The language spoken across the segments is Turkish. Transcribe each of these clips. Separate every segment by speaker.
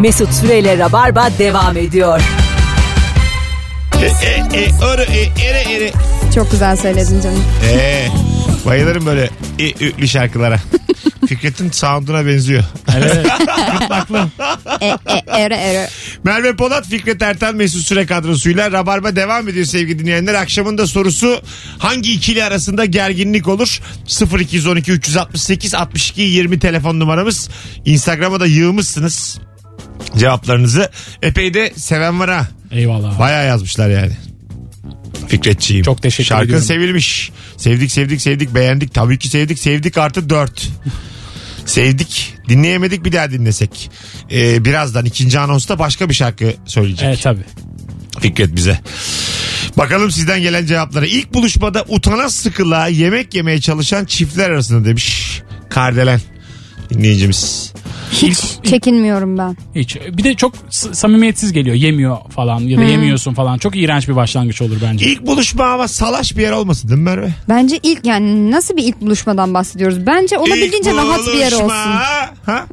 Speaker 1: Mesut Süreyle Rabarba devam ediyor.
Speaker 2: E, e, e, arı, e, ere, ere.
Speaker 3: Çok güzel söyledin canım.
Speaker 2: Ee, bayılırım böyle e, ütlü şarkılara. Fikret'in sound'una benziyor.
Speaker 3: E, e, ere ere.
Speaker 2: Merve Polat, Fikret Erten, Mesut Süre kadrosuyla Rabarba devam ediyor sevgili dinleyenler. Akşamın da sorusu hangi ikili arasında gerginlik olur? 0212 368 62 20 telefon numaramız. Instagram'a da yığmışsınız cevaplarınızı. Epey de seven var ha.
Speaker 4: Eyvallah.
Speaker 2: Bayağı yazmışlar yani. Fikretçiyim.
Speaker 4: Çok teşekkür
Speaker 2: Şarkın
Speaker 4: ediyorum.
Speaker 2: sevilmiş. Sevdik sevdik sevdik beğendik. Tabii ki sevdik sevdik artı dört. sevdik. Dinleyemedik bir daha dinlesek. Ee, birazdan ikinci anonsta başka bir şarkı söyleyecek
Speaker 4: Evet tabii.
Speaker 2: Fikret bize. Bakalım sizden gelen cevaplara. İlk buluşmada utana sıkıla yemek yemeye çalışan çiftler arasında demiş. Kardelen dinleyicimiz.
Speaker 3: Hiç çekinmiyorum ben.
Speaker 4: Hiç. Bir de çok s- samimiyetsiz geliyor. Yemiyor falan ya da yemiyorsun falan. Çok iğrenç bir başlangıç olur bence.
Speaker 2: İlk buluşma ama salaş bir yer olmasın değil mi Merve?
Speaker 3: Bence ilk yani nasıl bir ilk buluşmadan bahsediyoruz? Bence olabildiğince
Speaker 2: İlk
Speaker 3: rahat bir yer
Speaker 2: buluşma.
Speaker 3: olsun.
Speaker 2: Ha?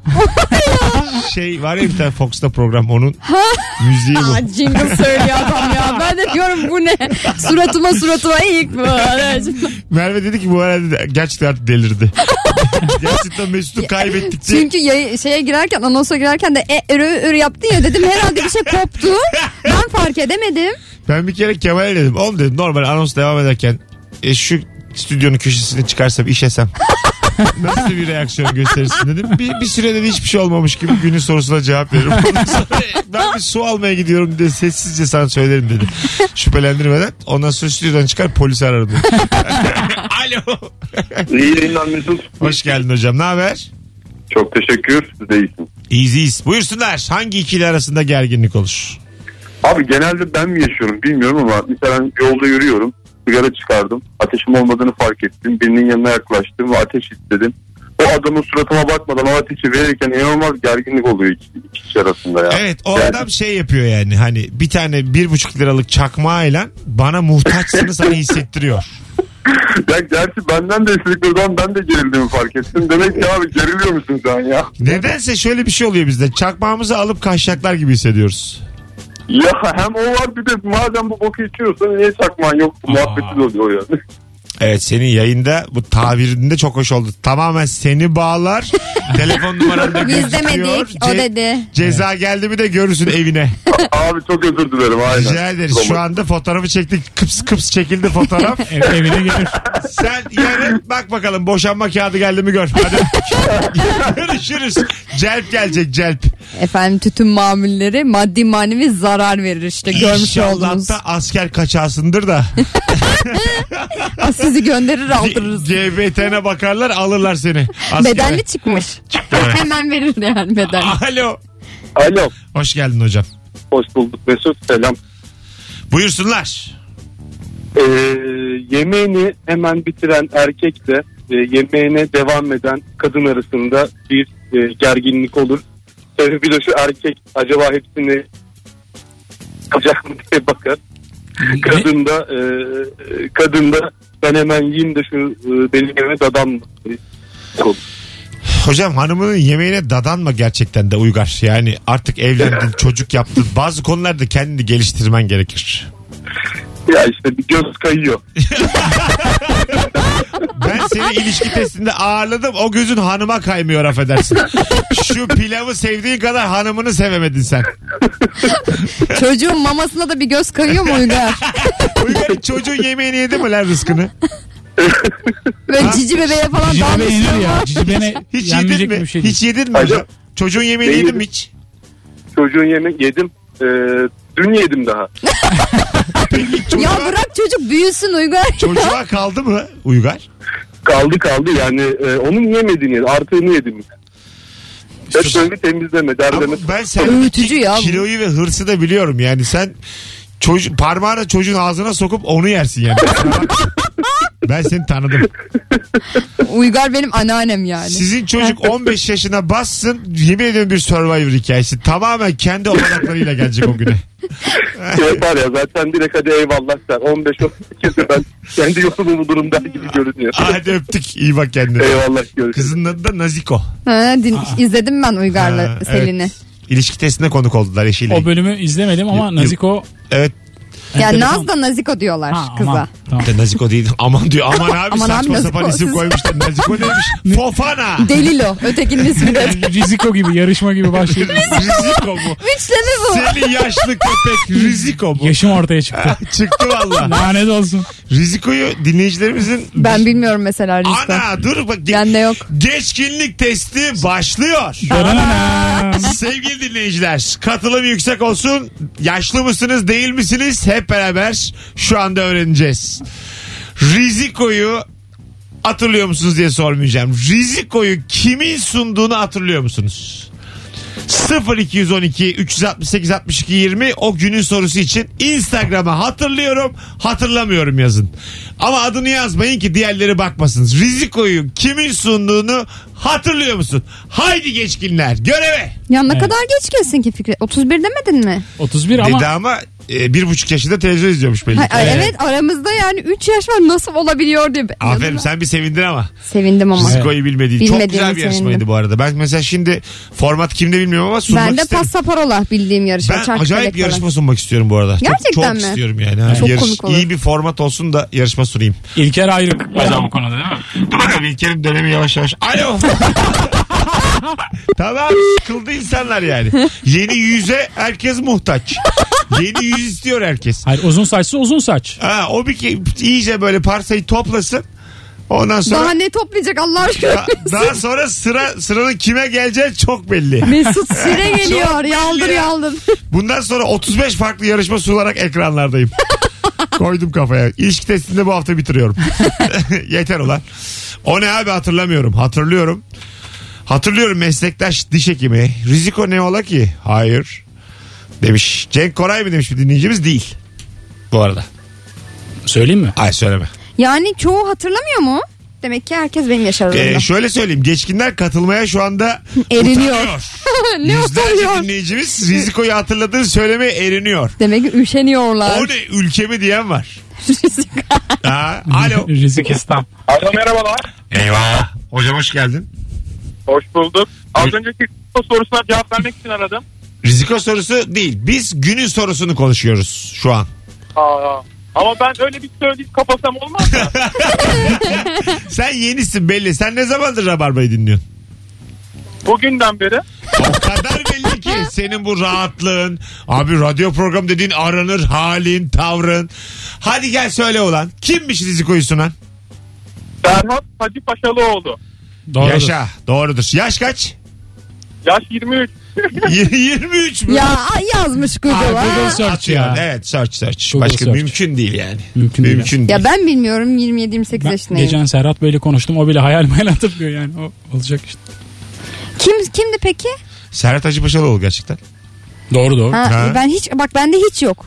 Speaker 2: şey var ya bir tane Fox'ta program onun müziği bu.
Speaker 3: Aa, jingle söylüyor adam ya. Ben de diyorum bu ne? Suratıma suratıma ilk mi?
Speaker 2: Merve dedi ki bu herhalde de- gerçekten artık delirdi. gerçekten Mesut'u kaybettik diye.
Speaker 3: Çünkü yay- şeye girerken anonsa girerken de e ürü ürü yaptın ya dedim herhalde bir şey koptu. Ben fark edemedim.
Speaker 2: Ben bir kere Kemal'e dedim. Oğlum dedim normal anons devam ederken e, şu stüdyonun köşesini çıkarsam işesem. Nasıl bir reaksiyon gösterirsin dedim. Bir, bir süre dedi hiçbir şey olmamış gibi günün sorusuna cevap veririm. Ondan sonra ben bir su almaya gidiyorum diye sessizce sana söylerim dedi. Şüphelendirmeden. Ondan sonra stüdyodan çıkar polisi ararım dedi. Alo.
Speaker 5: İyi yayınlar Mesut.
Speaker 2: Hoş geldin hocam. Ne haber?
Speaker 5: Çok teşekkür. Siz de iyisiniz.
Speaker 2: İyiyiz iyiyiz. Buyursunlar. Hangi ikili arasında gerginlik olur?
Speaker 5: Abi genelde ben mi yaşıyorum bilmiyorum ama mesela yolda yürüyorum. Sigara çıkardım. Ateşim olmadığını fark ettim. Birinin yanına yaklaştım ve ateş istedim. O adamın suratıma bakmadan o ateşi verirken inanılmaz gerginlik oluyor iki, iki kişi arasında ya.
Speaker 2: Evet o
Speaker 5: Yani
Speaker 2: adam şey yapıyor yani hani bir tane bir buçuk liralık çakmağıyla bana muhtaçsınız hani hissettiriyor.
Speaker 5: Ya gerçi benden de istedikleri zaman ben de gerildiğimi fark ettim. Demek ki abi geriliyor musun sen ya?
Speaker 2: Nedense şöyle bir şey oluyor bizde çakmağımızı alıp kaşacaklar gibi hissediyoruz.
Speaker 5: Ya hem o var bir de madem bu boku içiyorsan niye çakman yok? Muhabbeti de oluyor yani.
Speaker 2: Evet senin yayında bu tavirinde çok hoş oldu. Tamamen seni bağlar. Telefon numaran da gözüküyor.
Speaker 3: Biz demedik o
Speaker 2: Ce-
Speaker 3: dedi.
Speaker 2: Ceza geldi mi de görürsün evine.
Speaker 5: Abi çok özür dilerim aynen.
Speaker 2: Rica ederiz. Şu anda fotoğrafı çektik. Kıps kıps çekildi fotoğraf.
Speaker 4: Ev, evine gelir.
Speaker 2: Sen yarın bak bakalım boşanma kağıdı geldi mi gör. Hadi görüşürüz. Celp gelecek celp.
Speaker 3: Efendim tütün mamulleri maddi manevi zarar verir işte görmüş
Speaker 2: İnşallah
Speaker 3: oldunuz.
Speaker 2: da asker kaçağısındır da.
Speaker 3: Aa, Sizi gönderir aldırırız.
Speaker 2: GBT'ne bakarlar alırlar seni. Askere.
Speaker 3: Bedelli çıkmış.
Speaker 2: Evet.
Speaker 3: Hemen verir yani bedelli.
Speaker 2: Alo.
Speaker 5: Alo.
Speaker 2: Hoş geldin hocam.
Speaker 5: Hoş bulduk Mesut. Selam.
Speaker 2: Buyursunlar.
Speaker 5: Ee, yemeğini hemen bitiren erkekle e, yemeğine devam eden kadın arasında bir e, gerginlik olur. Sebebi de şu erkek acaba hepsini yapacak mı diye bakar. Kadın da, e, kadın da ben hemen yiyeyim de şu e, benim yemeğe dadam mı?
Speaker 2: Hocam hanımının yemeğine dadanma gerçekten de Uygar. Yani artık evlendin, çocuk yaptın. Bazı konularda kendini geliştirmen gerekir.
Speaker 5: Ya işte bir göz kayıyor.
Speaker 2: Ben seni ilişki testinde ağırladım. O gözün hanıma kaymıyor affedersin. Şu pilavı sevdiğin kadar hanımını sevemedin sen.
Speaker 3: Çocuğun mamasına da bir göz kayıyor mu Uygar?
Speaker 2: Uygar çocuğun yemeğini yedi mi lan rızkını?
Speaker 3: Böyle cici bebeğe falan
Speaker 4: Cicibene
Speaker 3: dalmış.
Speaker 4: yenir ya. Cicibene
Speaker 2: Hiç
Speaker 4: yenmeyecek
Speaker 2: yedin
Speaker 4: bir
Speaker 2: mi?
Speaker 4: şey değil.
Speaker 2: hiç yedin mi hocam?
Speaker 5: Hocam.
Speaker 2: Çocuğun yemeğini
Speaker 5: Ben
Speaker 2: yedin
Speaker 5: yedim.
Speaker 2: mi hiç?
Speaker 5: Çocuğun yemek yedim. Ee, dün yedim daha.
Speaker 3: Ya bırak çocuk büyüsün Uygar.
Speaker 2: Çocuğa kaldı mı Uygar?
Speaker 5: Kaldı kaldı yani e, onun yemediğini yedim. Artığını yedim. Hep
Speaker 2: Sus.
Speaker 5: böyle temizleme
Speaker 2: Ama
Speaker 5: derdeme.
Speaker 2: ben sen
Speaker 3: Öğütücü ya bu.
Speaker 2: kiloyu ve hırsı da biliyorum yani sen çocuğu, parmağını çocuğun ağzına sokup onu yersin yani. ben seni tanıdım.
Speaker 3: Uygar benim anneannem
Speaker 6: Hani
Speaker 3: yani.
Speaker 2: Sizin çocuk 15 yaşına bassın yemin ediyorum bir survivor hikayesi. Tamamen kendi olanaklarıyla gelecek o güne.
Speaker 5: Şey yapar ya zaten direkt hadi eyvallah sen 15 kese ben kendi yolumu bulurum der gibi görünüyor.
Speaker 2: Hadi öptük iyi bak kendine.
Speaker 5: eyvallah görüşürüz.
Speaker 2: Kızının adı da Naziko.
Speaker 3: Ha, din- izledim ben Uygar'la
Speaker 2: Ha,
Speaker 3: Selin'i.
Speaker 2: evet. İlişki testine konuk oldular eşiyle.
Speaker 7: O bölümü izlemedim
Speaker 2: Yok,
Speaker 7: ama
Speaker 2: yok.
Speaker 7: Naziko
Speaker 2: Evet.
Speaker 6: Ya
Speaker 7: enteresan-
Speaker 6: Naz da Naziko diyorlar
Speaker 7: Ha,
Speaker 6: kıza.
Speaker 7: aman, tamam.
Speaker 2: De Naziko değil. Aman diyor. Aman abi
Speaker 6: Aman abi,
Speaker 2: saçma
Speaker 6: Naziko,
Speaker 2: sapan isim
Speaker 6: siz-
Speaker 2: koymuşlar. Naziko neymiş? Fofana.
Speaker 6: Delilo ötekinin ismi de.
Speaker 7: Riziko gibi yarışma gibi başlıyor.
Speaker 2: Riziko bu.
Speaker 6: Üçleme bu.
Speaker 2: Seni yaşlı köpek Riziko bu.
Speaker 7: Yaşım ortaya çıktı.
Speaker 2: Çıktı valla.
Speaker 7: Lanet olsun.
Speaker 2: Riziko'yu dinleyicilerimizin...
Speaker 6: Ben bilmiyorum mesela liste.
Speaker 2: Ana dur bak. Ge-
Speaker 6: Bende yok.
Speaker 2: Geçkinlik testi başlıyor.
Speaker 7: Dananana.
Speaker 2: Sevgili dinleyiciler katılım yüksek olsun. Yaşlı mısınız değil misiniz hep beraber şu anda öğreneceğiz. Riziko'yu hatırlıyor musunuz diye sormayacağım. Riziko'yu kimin sunduğunu hatırlıyor musunuz? 0212 368 62 20 o günün sorusu için Instagram'a hatırlıyorum hatırlamıyorum yazın. Ama adını yazmayın ki diğerleri bakmasın. Riziko'yu kimin sunduğunu hatırlıyor musun? Haydi geçkinler göreve.
Speaker 6: Ya ne
Speaker 7: Evet.
Speaker 6: kadar geç gelsin ki Fikri? 31 demedin mi?
Speaker 7: 31 ama
Speaker 2: Dedi ama e, bir buçuk yaşında televizyon izliyormuş belli.
Speaker 6: Ha,
Speaker 2: ki.
Speaker 6: ay, evet. aramızda yani 3 yaş var nasıl olabiliyor diye.
Speaker 2: Aferin sen bir sevindin ama.
Speaker 6: Sevindim ama.
Speaker 2: Riziko'yu bilmediğin. Çok
Speaker 6: Bilmediğimi
Speaker 2: güzel bir yarışmaydı
Speaker 6: sevindim.
Speaker 2: bu arada. Ben mesela şimdi format kimde bilmiyorum ama sunmak
Speaker 6: Ben de
Speaker 2: isterim.
Speaker 6: pasaparola bildiğim yarışma.
Speaker 2: Ben
Speaker 6: çark
Speaker 2: acayip
Speaker 6: felek
Speaker 2: bir yarışma sunmak istiyorum bu arada. Çok-
Speaker 6: Gerçekten
Speaker 2: çok,
Speaker 6: mi?
Speaker 2: istiyorum yani. Ha,
Speaker 6: Çok komik olur.
Speaker 2: İyi bir format olsun da yarışma sunayım.
Speaker 7: İlker ayrık. bu konuda değil mi?
Speaker 2: Dur bakalım İlker'in dönemi yavaş yavaş. Alo. tamam sıkıldı insanlar yani. Yeni yüze herkes muhtaç. Yeni yüz istiyor herkes.
Speaker 7: Hayır uzun saçsa uzun saç.
Speaker 2: Ha, o bir ki iyice böyle parsayı toplasın. Ondan
Speaker 6: falan.
Speaker 2: sonra
Speaker 6: Daha ne toplayacak Allah aşkına?
Speaker 2: Da- daha sonra sıra sıranın kime geleceği çok belli.
Speaker 6: Mesut Süre geliyor. Yaldır yaldır.
Speaker 2: Bundan sonra 35 farklı yarışma sunularak ekranlardayım. Koydum kafaya. İlişki testinde bu hafta bitiriyorum. Yeter ulan. O ne abi hatırlamıyorum. Hatırlıyorum. Hatırlıyorum meslektaş diş hekimi. Riziko ne ola ki? Hayır. Demiş. Cenk Koray mı demiş bir dinleyicimiz? Değil. Bu arada.
Speaker 7: Söyleyeyim mi?
Speaker 2: Ay söyleme.
Speaker 6: Yani çoğu hatırlamıyor mu? Demek ki herkes benim yaş aralığımda.
Speaker 2: Ee, şöyle söyleyeyim. Geçkinler katılmaya şu anda
Speaker 6: Eriniyor.
Speaker 2: utanıyor.
Speaker 6: ne
Speaker 2: Yüzlerce
Speaker 6: oluyor?
Speaker 2: dinleyicimiz Riziko'yu hatırladığını söylemeye eriniyor.
Speaker 6: Demek ki
Speaker 2: O
Speaker 6: üşeniyorlar.
Speaker 2: ne ülkemi diyen var. Ha, alo.
Speaker 7: Rizikistan.
Speaker 8: Alo merhabalar.
Speaker 2: Eyvah. Hocam hoş geldin.
Speaker 8: Hoş bulduk. Az önceki sorusuna cevap vermek için aradım.
Speaker 2: Riziko sorusu değil. Biz günün sorusunu konuşuyoruz şu an.
Speaker 8: Aa, ama ben öyle bir söyleyip kapasam olmaz mı?
Speaker 2: Sen yenisin belli. Sen ne zamandır Rabarba'yı dinliyorsun?
Speaker 8: Bugünden beri.
Speaker 2: O kadar belli ki senin bu rahatlığın. Abi radyo programı dediğin aranır halin, tavrın. Hadi gel söyle ulan. Kimmiş Riziko'yu sunan?
Speaker 8: Serhat Hacı Paşalıoğlu.
Speaker 7: Doğru.
Speaker 2: Yaşa. Doğrudur. Yaş kaç?
Speaker 8: Yaş 23.
Speaker 2: 23 mü?
Speaker 6: Ya yazmış
Speaker 7: Google
Speaker 6: Google'a.
Speaker 7: search ya.
Speaker 2: Atıyor. Evet search search.
Speaker 7: Google
Speaker 2: Başka
Speaker 7: search.
Speaker 2: mümkün değil yani.
Speaker 7: Mümkün değil.
Speaker 2: mümkün değil.
Speaker 6: Ya ben bilmiyorum 27-28
Speaker 7: Ben
Speaker 6: yaşındayım.
Speaker 7: geçen Serhat Bey'le konuştum. O bile hayal meyal hatırlıyor yani. O olacak işte.
Speaker 6: Kim kimdi peki?
Speaker 2: Serhat Hacıpaşalıoğlu gerçekten.
Speaker 7: Doğru doğru.
Speaker 6: Ha,
Speaker 2: Ha.
Speaker 6: ben hiç bak bende hiç yok.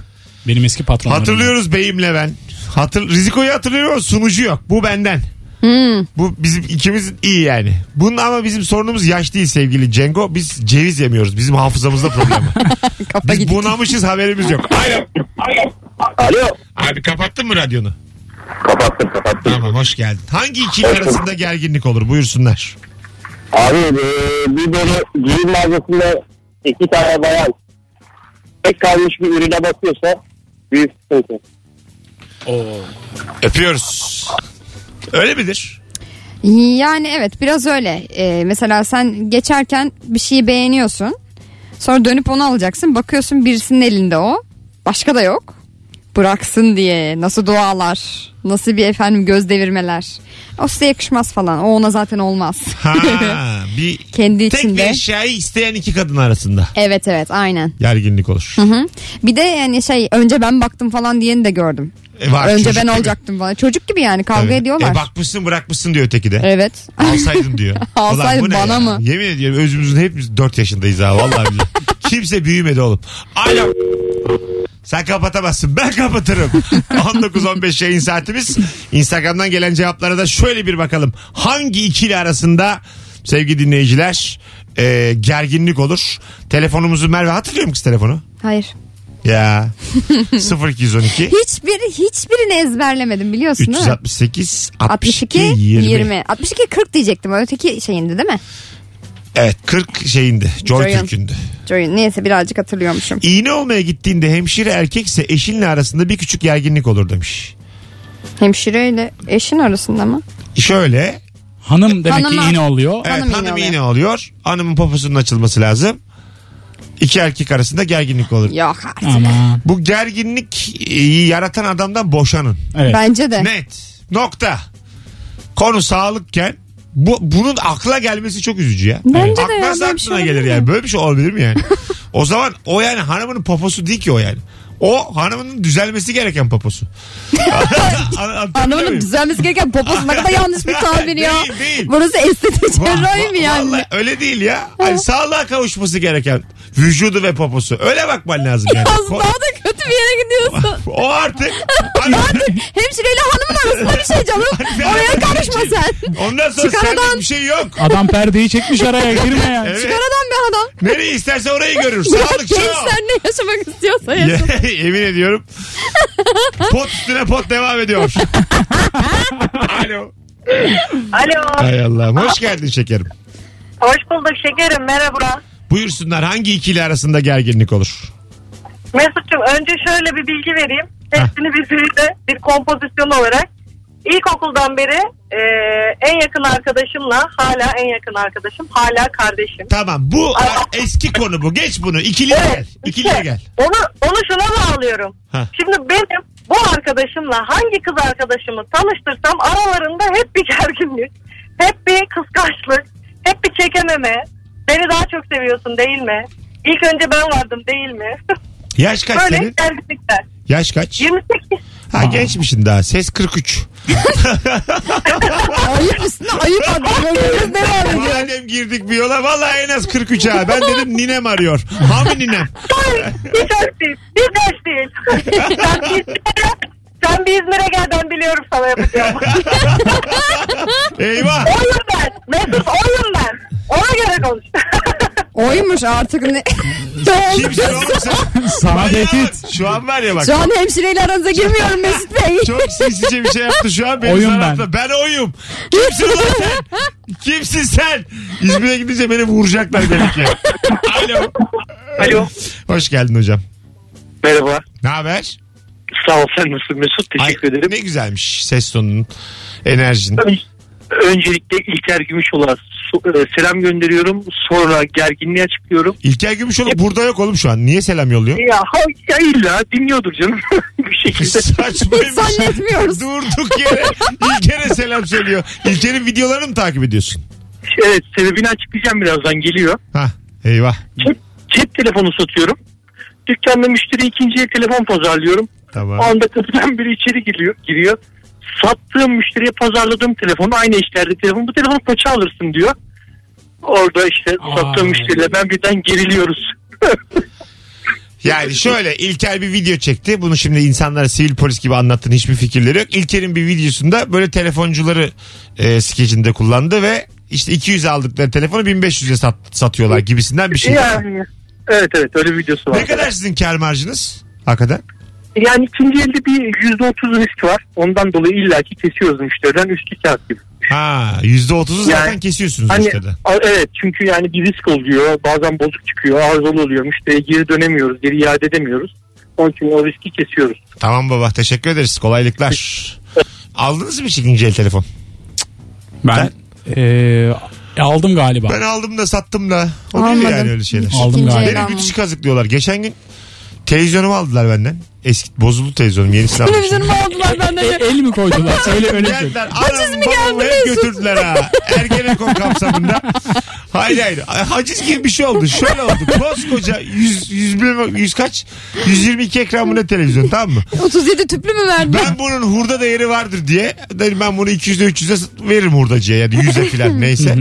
Speaker 7: Benim eski patronlarım.
Speaker 2: Hatırlıyoruz beyimle ben. Hatır, Riziko'yu hatırlıyorum sunucu yok. Bu benden.
Speaker 6: Hmm.
Speaker 2: Bu bizim ikimiz iyi yani. Bunun ama bizim sorunumuz yaş değil sevgili Cengo. Biz ceviz yemiyoruz. Bizim hafızamızda problem. var.
Speaker 6: Kafa
Speaker 2: Biz
Speaker 6: gitti.
Speaker 2: bunamışız haberimiz yok. Alo.
Speaker 8: Alo.
Speaker 2: Abi kapattın mı radyonu?
Speaker 8: Kapattım kapattım.
Speaker 2: Tamam hoş geldin. Hangi ikili arasında gerginlik olur? Buyursunlar.
Speaker 8: Abi e, bir böyle giyim mağazasında iki tane bayan tek kalmış bir ürüne bakıyorsa büyük sıkıntı.
Speaker 2: Öpüyoruz. Öyle midir?
Speaker 6: Yani evet biraz öyle. Ee, mesela sen geçerken bir şeyi beğeniyorsun. Sonra dönüp onu alacaksın. Bakıyorsun birisinin elinde o. Başka da yok. Bıraksın diye nasıl dualar. Nasıl bir efendim göz devirmeler. O size yakışmaz falan. O ona zaten olmaz.
Speaker 2: Ha, bir
Speaker 6: Kendi
Speaker 2: tek bir
Speaker 6: içinde.
Speaker 2: eşyayı isteyen iki kadın arasında
Speaker 6: Evet evet aynen.
Speaker 2: gerginlik olur.
Speaker 6: Hı. Bir de yani şey önce ben baktım falan diyeni de gördüm.
Speaker 2: E, var,
Speaker 6: önce
Speaker 2: çocuk
Speaker 6: ben
Speaker 2: gibi.
Speaker 6: olacaktım falan. Çocuk gibi yani kavga
Speaker 2: Tabii.
Speaker 6: ediyorlar.
Speaker 2: E, bakmışsın bırakmışsın diyor öteki de.
Speaker 6: Evet.
Speaker 2: Alsaydın diyor.
Speaker 6: Alsaydın,
Speaker 2: Ulan bu ne
Speaker 6: bana mı?
Speaker 2: Yemin ediyorum özümüzün hepimiz 4 yaşındayız ha vallahi billahi. Kimse büyümedi oğlum. Alo. Sen kapatamazsın ben kapatırım. 19-15 yayın saatimiz. Instagram'dan gelen cevaplara da şöyle bir bakalım. Hangi ikili arasında sevgili dinleyiciler e, gerginlik olur? Telefonumuzu Merve hatırlıyor musun kız telefonu?
Speaker 6: Hayır.
Speaker 2: Ya 0212
Speaker 6: Hiçbir hiçbirini ezberlemedim biliyorsun değil mi?
Speaker 2: 368 62
Speaker 6: 62
Speaker 2: 20.
Speaker 6: 20. 62 40 diyecektim. Öteki şeyindi değil mi?
Speaker 2: Evet 40 şeyindi. Joy
Speaker 6: Joy'un.
Speaker 2: Türk'ündü.
Speaker 3: oyun. Neyse birazcık hatırlıyormuşum.
Speaker 2: İğne olmaya gittiğinde hemşire erkekse eşinle arasında bir küçük gerginlik olur demiş.
Speaker 3: Hemşireyle eşin arasında mı?
Speaker 2: Şöyle
Speaker 4: Hanım demek
Speaker 3: Hanıma-
Speaker 4: ki iğne oluyor.
Speaker 2: evet, hanım,
Speaker 3: Hanım
Speaker 2: iğne,
Speaker 3: iğne
Speaker 2: alıyor. Hanımın poposunun açılması lazım. İki erkek arasında gerginlik olur.
Speaker 3: Yok artık.
Speaker 4: Ama
Speaker 2: Bu gerginlik e, yaratan adamdan boşanın.
Speaker 4: evet.
Speaker 3: Bence de.
Speaker 2: Net. Nokta. Konu sağlıkken bu bunun akla gelmesi çok üzücü ya.
Speaker 3: Bence de ya,
Speaker 2: Aklına
Speaker 3: böyle bir şey
Speaker 2: aklına gelir
Speaker 3: olabilir
Speaker 2: yani.
Speaker 3: mi?
Speaker 2: Böyle bir şey olabilir mi yani? o zaman o yani hanımının poposu değil ki o yani. O hanımının düzelmesi gereken poposu. An- anlatabiliyor
Speaker 3: Anamın
Speaker 2: muyum?
Speaker 3: düzelmesi gereken poposu ne kadar yanlış bir tabir ya.
Speaker 2: Değil, değil.
Speaker 3: Burası estetik
Speaker 2: Va-
Speaker 3: cerrahi
Speaker 2: va-
Speaker 3: mi yani?
Speaker 2: vallahi öyle değil ya. Hani sağlığa kavuşması gereken vücudu ve poposu. Öyle bakman lazım yani.
Speaker 3: Az
Speaker 2: Ko-
Speaker 3: daha da kötü bir yere gidiyorsun.
Speaker 2: o artık. Hani-
Speaker 3: Hemşireyle hanımın arasında bir şey canım. Oraya karışma sen.
Speaker 2: Ondan sonra
Speaker 3: Çıkaradan-
Speaker 2: senlik bir şey yok.
Speaker 4: Adam perdeyi çekmiş araya girme yani.
Speaker 2: Evet.
Speaker 3: Çıkaradan bir adam.
Speaker 2: Nereyi isterse orayı görür.
Speaker 3: Bırak
Speaker 2: Sağlık çok.
Speaker 3: gençler ne yaşamak istiyorsa yaşa.
Speaker 2: Ye- Yemin ediyorum. pot üstüne pot devam ediyor. Alo.
Speaker 9: Alo.
Speaker 2: Hay Allah'ım. Hoş geldin şekerim.
Speaker 9: Hoş bulduk şekerim. Merhaba.
Speaker 2: Buyursunlar hangi ikili arasında gerginlik olur?
Speaker 9: Mesut'cum önce şöyle bir bilgi vereyim. Hepsini birbiriyle bir kompozisyon olarak. İlkokuldan beri e, en yakın arkadaşımla hala en yakın arkadaşım hala kardeşim.
Speaker 2: Tamam bu eski konu bu. Geç bunu. İkiliye gel. İkiliye
Speaker 9: işte
Speaker 2: gel.
Speaker 9: Onu, onu şuna bağlıyorum.
Speaker 2: Ha.
Speaker 9: Şimdi benim bu arkadaşımla hangi kız arkadaşımı tanıştırsam aralarında hep bir gerginlik, hep bir kıskançlık, hep bir çekememe. Beni daha çok seviyorsun değil mi? İlk önce ben vardım değil mi?
Speaker 2: Yaş kaç
Speaker 9: Böyle
Speaker 2: senin?
Speaker 9: gerginlikler.
Speaker 2: Yaş kaç?
Speaker 9: 28.
Speaker 2: Ha gençmişsin daha. Ses 43.
Speaker 3: Ayıp üstüne ayıp adam. Yolumuz devam ediyor.
Speaker 2: Madem girdik bir yola vallahi en az 43 ha. Ben dedim ninem arıyor. Hami ninem.
Speaker 9: Hayır, hiç hoş değil. Hiç hoş değil. sen bir İzmir'e, sen bir İzmir'e gel ben biliyorum sana yapacağım.
Speaker 2: Eyvah.
Speaker 9: oyum ben. Mesut oyum ben. Ona göre konuş.
Speaker 3: Oymuş artık ne? Ne oldu?
Speaker 2: Kimsin oğlum sen?
Speaker 4: Sana
Speaker 2: Bayağı
Speaker 4: tehdit.
Speaker 2: bak, Şu an var ya bak.
Speaker 3: Şu an hemşireyle aranıza girmiyorum Mesut Bey.
Speaker 2: Çok sinsice bir şey yaptı şu an. Beni
Speaker 4: Oyum
Speaker 2: sarartma. ben. oyum. Kimsin lan sen? Kimsin sen? İzmir'e gidince beni vuracaklar demek ki. Alo.
Speaker 10: Alo.
Speaker 2: Hoş geldin hocam.
Speaker 10: Merhaba.
Speaker 2: Ne haber?
Speaker 10: Sağ ol sen nasılsın Mesut? Teşekkür
Speaker 2: Ay,
Speaker 10: ederim.
Speaker 2: Ne güzelmiş ses tonunun, enerjin.
Speaker 10: Öncelikle İlker Gümüşoğlu'na so- e, selam gönderiyorum. Sonra gerginliği açıklıyorum.
Speaker 2: İlker Gümüşoluk burada yok oğlum şu an. Niye selam yolluyor?
Speaker 10: Ya, ha, ya illa dinliyordur canım. bir şekilde.
Speaker 2: Saçmaymış.
Speaker 3: Zannetmiyoruz.
Speaker 2: Durduk yere İlker'e selam söylüyor. İlker'in videolarını mı takip ediyorsun?
Speaker 10: Evet sebebini açıklayacağım birazdan geliyor.
Speaker 2: Ha eyvah.
Speaker 10: Cep, cep telefonu satıyorum. Dükkanda müşteri ikinci el telefon pazarlıyorum.
Speaker 2: Tamam.
Speaker 10: O anda kapıdan biri içeri giriyor. giriyor. Sattığım müşteriye pazarladığım telefonu aynı işlerde telefon. Bu telefonu kaça alırsın diyor. Orada işte
Speaker 4: Aa.
Speaker 10: sattığım müşteriyle ben birden geriliyoruz.
Speaker 2: Yani şöyle İlker bir video çekti. Bunu şimdi insanlara sivil polis gibi anlattın hiçbir fikirleri yok. İlker'in bir videosunda böyle telefoncuları e, skecinde kullandı ve işte 200 aldıkları telefonu 1500'e sat, satıyorlar gibisinden bir şey.
Speaker 10: yani, evet evet öyle bir videosu var.
Speaker 2: Ne kadar sizin kar marjınız? Hakikaten.
Speaker 10: Yani ikinci elde bir yüzde otuz risk var. Ondan dolayı illaki kesiyoruz müşteriden üstü kağıt gibi.
Speaker 2: Ha %30'u zaten
Speaker 10: Yani
Speaker 2: kesiyorsunuz
Speaker 10: Hani,
Speaker 2: işte de.
Speaker 10: a- evet çünkü yani bir risk oluyor. Bazen bozuk çıkıyor. Arızalı oluyor. Müşteriye geri dönemiyoruz. Geri iade edemiyoruz. Onun için o riski kesiyoruz.
Speaker 2: Tamam baba teşekkür ederiz. Kolaylıklar. Aldınız mı ikinci el telefon?
Speaker 4: Ben eee, aldım galiba.
Speaker 2: Ben aldım da sattım da. Oluyor
Speaker 3: Almadım.
Speaker 2: yani öyle şeyler.
Speaker 4: Aldım
Speaker 3: İkinci el
Speaker 4: galiba.
Speaker 2: Beni müthiş kazıklıyorlar. Geçen gün televizyonumu aldılar benden. Eski bozuldu televizyonum yenisini almışım.
Speaker 3: Televizyonumu aldılar benden
Speaker 4: E,
Speaker 3: de.
Speaker 4: el mi koydular? Söyle öyle şey. söyle.
Speaker 2: Geldiler. Anam babamı hep götürdüler ha. Ergenekon kapsamında. Hayır hayır. Haciz gibi bir şey oldu. Şöyle oldu. Koskoca 100, 100, 100 kaç? 122 ekran bu ne televizyon tamam mı?
Speaker 3: 37 tüplü mü verdi?
Speaker 2: Ben bunun hurda değeri vardır diye. Dedim ben bunu 200'e 300'e veririm hurdacıya. Yani 100'e filan neyse.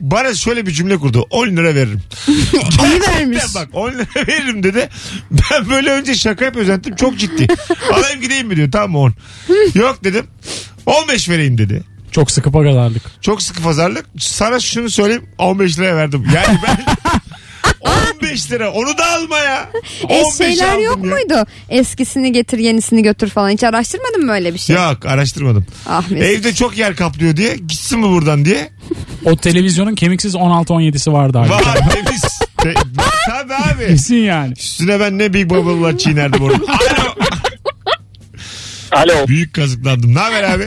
Speaker 2: Bana şöyle bir cümle kurdu. 10 lira veririm.
Speaker 3: İyi vermiş.
Speaker 2: Ya bak 10 lira veririm dedi. Ben böyle önce şaka yapıyorum zannettim. Çok ciddi. Alayım gideyim mi diyor. Tamam 10. Yok dedim. 15 vereyim dedi.
Speaker 4: Çok sıkı pagalarlık.
Speaker 2: Çok sıkı pazarlık. Sana şunu söyleyeyim 15 liraya verdim. Yani ben 15 lira onu da alma ya.
Speaker 3: E
Speaker 2: 15
Speaker 3: şeyler
Speaker 2: aldım
Speaker 3: yok
Speaker 2: ya.
Speaker 3: muydu? Eskisini getir yenisini götür falan. Hiç araştırmadın mı öyle bir şey?
Speaker 2: Yok araştırmadım.
Speaker 3: Ah Mesut.
Speaker 2: Evde çok yer kaplıyor diye gitsin mi buradan diye.
Speaker 4: O televizyonun kemiksiz 16-17'si vardı abi.
Speaker 2: Var temiz. Te- Tabii abi.
Speaker 4: Kesin yani.
Speaker 2: Üstüne ben ne Big Bubble'lar çiğnerdim orada. Alo.
Speaker 5: Alo.
Speaker 2: Büyük kazıklandım. Ne haber abi?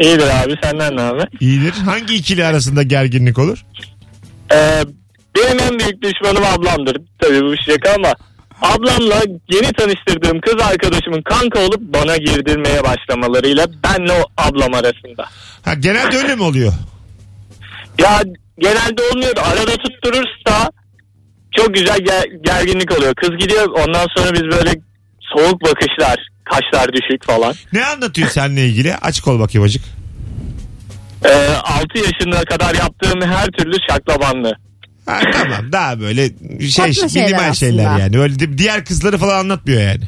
Speaker 5: iyidir abi senden ne haber?
Speaker 2: İyidir. Hangi ikili arasında gerginlik olur?
Speaker 5: Ee, benim en büyük düşmanım ablamdır. Tabii bu bir şaka ama ablamla yeni tanıştırdığım kız arkadaşımın kanka olup bana girdirmeye başlamalarıyla benle o ablam arasında.
Speaker 2: Ha genelde öyle mi oluyor?
Speaker 5: Ya genelde olmuyor da arada tutturursa çok güzel ger- gerginlik oluyor. Kız gidiyor ondan sonra biz böyle soğuk bakışlar, kaşlar düşük falan.
Speaker 2: Ne anlatıyor seninle ilgili? Açık ol bakayım acık.
Speaker 5: Ee, 6 yaşına kadar yaptığım her türlü şaklabanlı.
Speaker 2: Ha, tamam daha böyle şey
Speaker 6: Tatlı şeyler
Speaker 2: minimal şeyler
Speaker 6: aslında.
Speaker 2: yani. Öyle di- diğer kızları falan anlatmıyor yani.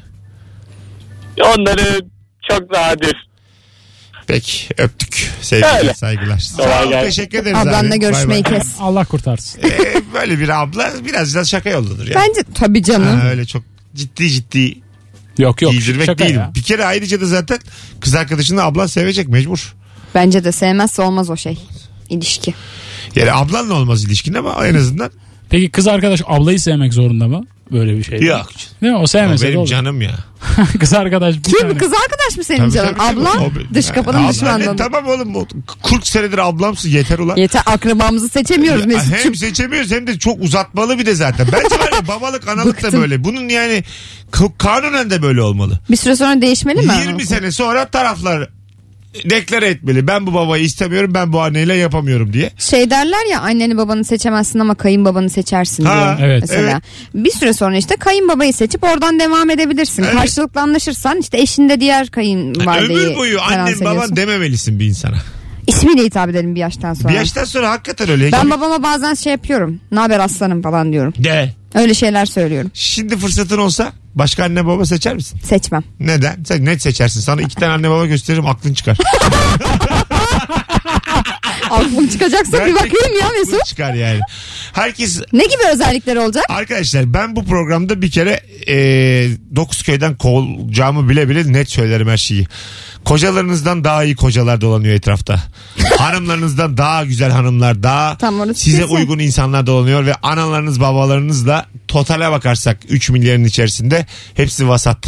Speaker 5: Onları çok nadir.
Speaker 2: Peki öptük. Sevgiler,
Speaker 5: Öyle.
Speaker 2: saygılar. Sağ
Speaker 5: Kolay
Speaker 2: olun,
Speaker 5: gelsin.
Speaker 2: teşekkür ederiz abi.
Speaker 6: Ablanla
Speaker 2: Bay
Speaker 6: görüşmeyi
Speaker 2: bay.
Speaker 6: kes.
Speaker 4: Allah kurtarsın.
Speaker 2: Ee, böyle bir abla biraz biraz şaka yollanır yani.
Speaker 6: Bence tabii canım.
Speaker 2: Ha, öyle çok ciddi ciddi
Speaker 4: Yok yok.
Speaker 2: giydirmek
Speaker 4: şaka
Speaker 2: değil.
Speaker 4: ya.
Speaker 2: Bir kere ayrıca da zaten kız arkadaşını ablan sevecek mecbur.
Speaker 6: Bence de sevmezse olmaz o şey. İlişki.
Speaker 2: Yani ablanla olmaz ilişkin ama en azından
Speaker 4: Peki kız arkadaş ablayı sevmek zorunda mı? Böyle bir şey.
Speaker 2: yok.
Speaker 4: Değil mi? O
Speaker 2: O
Speaker 4: sevmese de
Speaker 2: benim
Speaker 4: olur.
Speaker 2: canım ya.
Speaker 4: kız arkadaş bir
Speaker 6: Kim
Speaker 4: tane.
Speaker 6: kız arkadaş mı senin canım? Ablan
Speaker 2: O be-
Speaker 6: dış kapının
Speaker 2: Ablan-
Speaker 6: düşmanlığı.
Speaker 2: Anne, Tamam oğlum bu 40 senedir ablamsın yeter ulan.
Speaker 6: Yeter akrabamızı seçemiyoruz
Speaker 2: Ya,
Speaker 6: Mesut'cum.
Speaker 2: hem seçemiyoruz hem de çok uzatmalı bir de zaten. Bence var ya babalık analık da
Speaker 6: Bıktım.
Speaker 2: böyle. Bunun yani ka- kanunen de böyle olmalı.
Speaker 6: Bir süre sonra değişmeli mi?
Speaker 2: 20 sene sonra taraflar deklare etmeli. Ben bu babayı istemiyorum ben bu anneyle yapamıyorum diye.
Speaker 6: Şey derler ya anneni babanı seçemezsin ama kayınbabanı seçersin
Speaker 2: Ha,
Speaker 6: diye
Speaker 4: evet.
Speaker 6: mesela. Bir süre sonra işte kayınbabayı seçip oradan devam edebilirsin.
Speaker 2: Evet.
Speaker 6: Karşılıklı anlaşırsan işte eşinde diğer kayınvalideyi
Speaker 2: Ömür boyu
Speaker 6: falan
Speaker 2: annen
Speaker 6: seviyorsun.
Speaker 2: baban dememelisin bir insana.
Speaker 6: İsmiyle hitap edelim bir yaştan sonra.
Speaker 2: Bir yaştan sonra hakikaten öyle.
Speaker 6: Ben babama bazen şey yapıyorum. Ne haber aslanım falan diyorum.
Speaker 2: De.
Speaker 6: Öyle şeyler söylüyorum.
Speaker 2: Şimdi fırsatın olsa başka anne baba seçer misin?
Speaker 6: Seçmem.
Speaker 2: Neden? Sen net seçersin. Sana iki tane anne baba gösteririm aklın çıkar.
Speaker 6: Aklım çıkacaksa bir
Speaker 2: Gerçekten
Speaker 6: bakayım ya
Speaker 2: aklın
Speaker 6: Mesut.
Speaker 2: Çıkar yani. Herkes
Speaker 6: Ne gibi özellikler olacak?
Speaker 2: Arkadaşlar ben bu programda bir kere e, Dokuzköy'den kovulacağımı bile bile net söylerim her şeyi. Kocalarınızdan daha iyi kocalar dolanıyor etrafta. Hanımlarınızdan daha güzel hanımlar, daha
Speaker 6: Tam orası
Speaker 2: size
Speaker 6: kesin.
Speaker 2: uygun insanlar dolanıyor ve analarınız babalarınızla totale bakarsak 3 milyarın içerisinde hepsi vasat.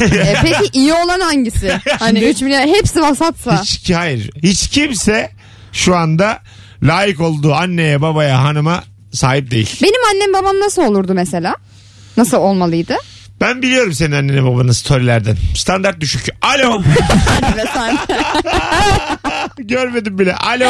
Speaker 6: E, peki iyi olan hangisi? Hani 3 milyar hepsi vasatsa.
Speaker 2: Hiç, ki- hayır. Hiç kimse şu anda layık olduğu anneye, babaya, hanıma sahip değil.
Speaker 6: Benim annem babam nasıl olurdu mesela? Nasıl olmalıydı?
Speaker 2: Ben biliyorum senin annene babanın storylerden. Standart düşük. Alo. Görmedim bile. Alo.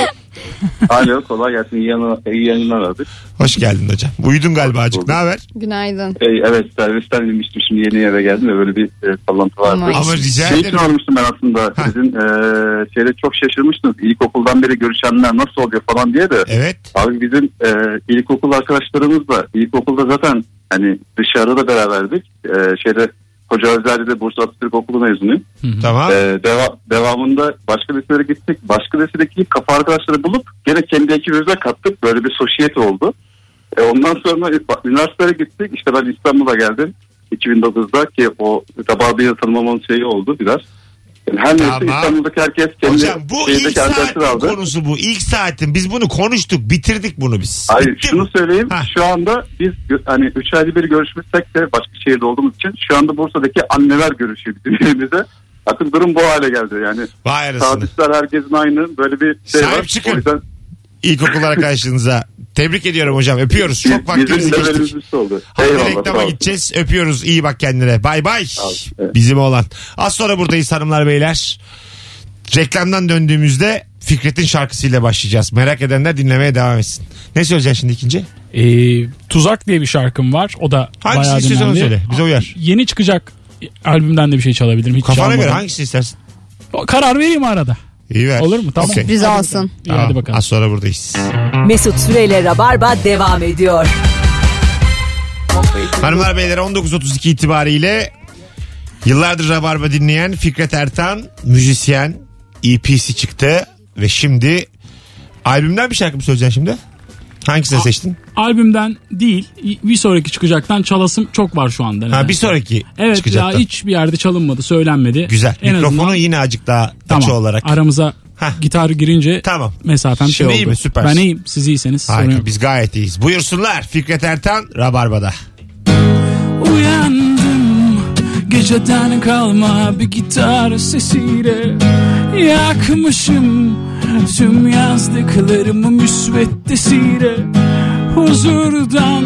Speaker 11: Alo kolay gelsin iyi, yana, iyi yayınlar abi.
Speaker 2: Hoş geldin hocam. Uyudun galiba acık. Ne haber?
Speaker 6: Günaydın.
Speaker 11: Ee, evet servisten inmiştim şimdi yeni eve geldim de böyle bir e, sallantı vardı.
Speaker 6: Ama
Speaker 2: Ama rica
Speaker 11: Şey için
Speaker 2: ederim.
Speaker 11: olmuştum ben aslında
Speaker 2: Ha.
Speaker 11: sizin e, şeyde çok şaşırmıştınız ilkokuldan beri görüşenler nasıl oluyor falan diye de.
Speaker 2: Evet.
Speaker 11: Abi bizim e, ilkokul arkadaşlarımızla ilkokulda zaten hani dışarıda da beraberdik. E, şeyde Hoca Özel'de de Bursa Atatürk Okulu mezunuyum.
Speaker 2: Tamam.
Speaker 11: Ee, deva- devamında başka liselere gittik. Başka lisedeki kafa arkadaşları bulup gene kendi ekibimize kattık. Böyle bir sosyete oldu. Ee, ondan sonra ü- üniversiteye gittik. İşte ben İstanbul'a geldim. 2009'da ki o tabağı yatırmamamın şeyi oldu biraz. Yani her neyse
Speaker 2: Tamam.
Speaker 11: İstanbul'daki herkes kendi
Speaker 2: Hocam bu ilk
Speaker 11: şehirdeki
Speaker 2: saat
Speaker 11: arkadaşları aldı.
Speaker 2: konusu bu. İlk saatin. Biz bunu konuştuk. Bitirdik bunu biz.
Speaker 11: Hayır
Speaker 2: Bitti
Speaker 11: şunu
Speaker 2: mi?
Speaker 11: söyleyeyim
Speaker 2: Ha.
Speaker 11: şu anda biz gö- hani 3 ayda bir görüşmüşsek de başka şehirde olduğumuz için şu anda Bursa'daki anneler görüşüyor bizim evimizde. Artık durum bu hale geldi yani.
Speaker 2: Vay arasını.
Speaker 11: Sadıçlar herkesin aynı böyle bir şey
Speaker 2: Sahip
Speaker 11: var.
Speaker 2: çıkın.
Speaker 11: O yüzden
Speaker 2: İlkokul arkadaşınıza. Tebrik ediyorum hocam. Öpüyoruz.
Speaker 11: biz-
Speaker 2: Çok vaktimizi
Speaker 11: bizim levelimiz
Speaker 2: geçtik.
Speaker 11: üstü oldu.
Speaker 2: Hadi
Speaker 11: Eyvallah,
Speaker 2: reklama
Speaker 11: sağ olun.
Speaker 2: gideceğiz. Öpüyoruz. İyi bak kendine. Bay bay.
Speaker 11: evet.
Speaker 2: Bizim olan. Az sonra buradayız hanımlar beyler. Reklamdan döndüğümüzde Fikret'in şarkısıyla başlayacağız. Merak edenler dinlemeye devam etsin. Ne söyleyeceksin şimdi ikinci?
Speaker 4: Ee, Tuzak diye bir şarkım var. O da
Speaker 2: Hangisini
Speaker 4: bayağı
Speaker 2: istiyorsan onu
Speaker 4: dinlendi.
Speaker 2: söyle. Bize uyar.
Speaker 4: Yeni çıkacak albümden de bir şey çalabilirim. Hiç
Speaker 2: Kafana
Speaker 4: çalmadım.
Speaker 2: göre hangisini istersin?
Speaker 4: O- Karar vereyim arada.
Speaker 2: İyi ver.
Speaker 4: Olur mu? Tamam.
Speaker 2: Okey.
Speaker 6: Bize alsın.
Speaker 4: İyi hadi
Speaker 2: Tamam.
Speaker 4: bakalım.
Speaker 2: Az sonra buradayız.
Speaker 1: Mesut Süreyle Rabarba devam ediyor.
Speaker 2: Hanımlar beyler 19.32 itibariyle yıllardır Rabarba dinleyen Fikret Ertan müzisyen EP'si çıktı ve şimdi albümden bir şarkı mı söyleyeceksin şimdi? Hangisini seçtin?
Speaker 4: Albümden değil bir sonraki çıkacaktan çalasım çok var şu anda.
Speaker 2: Ha, bir
Speaker 4: nedense.
Speaker 2: sonraki
Speaker 4: Evet
Speaker 2: çıkacak.
Speaker 4: ya hiçbir yerde çalınmadı söylenmedi.
Speaker 2: Güzel.
Speaker 4: En
Speaker 2: Mikrofonu
Speaker 4: azından
Speaker 2: yine acık daha açı
Speaker 4: tamam,
Speaker 2: olarak.
Speaker 4: aramıza
Speaker 7: Gitar girince
Speaker 2: Tamam.
Speaker 7: mesafem şey
Speaker 2: Şimdi
Speaker 7: oldu.
Speaker 2: iyi mi? Süpersin.
Speaker 7: Ben iyiyim. Siz iyiyseniz sorun
Speaker 2: Harika
Speaker 7: yok.
Speaker 2: biz gayet iyiyiz. Buyursunlar Fikret Ertan Rabarba'da.
Speaker 7: Uyandım geceden kalma bir gitar sesiyle Yakmışım tüm yazdıklarımı müsveddesiyle Huzurdan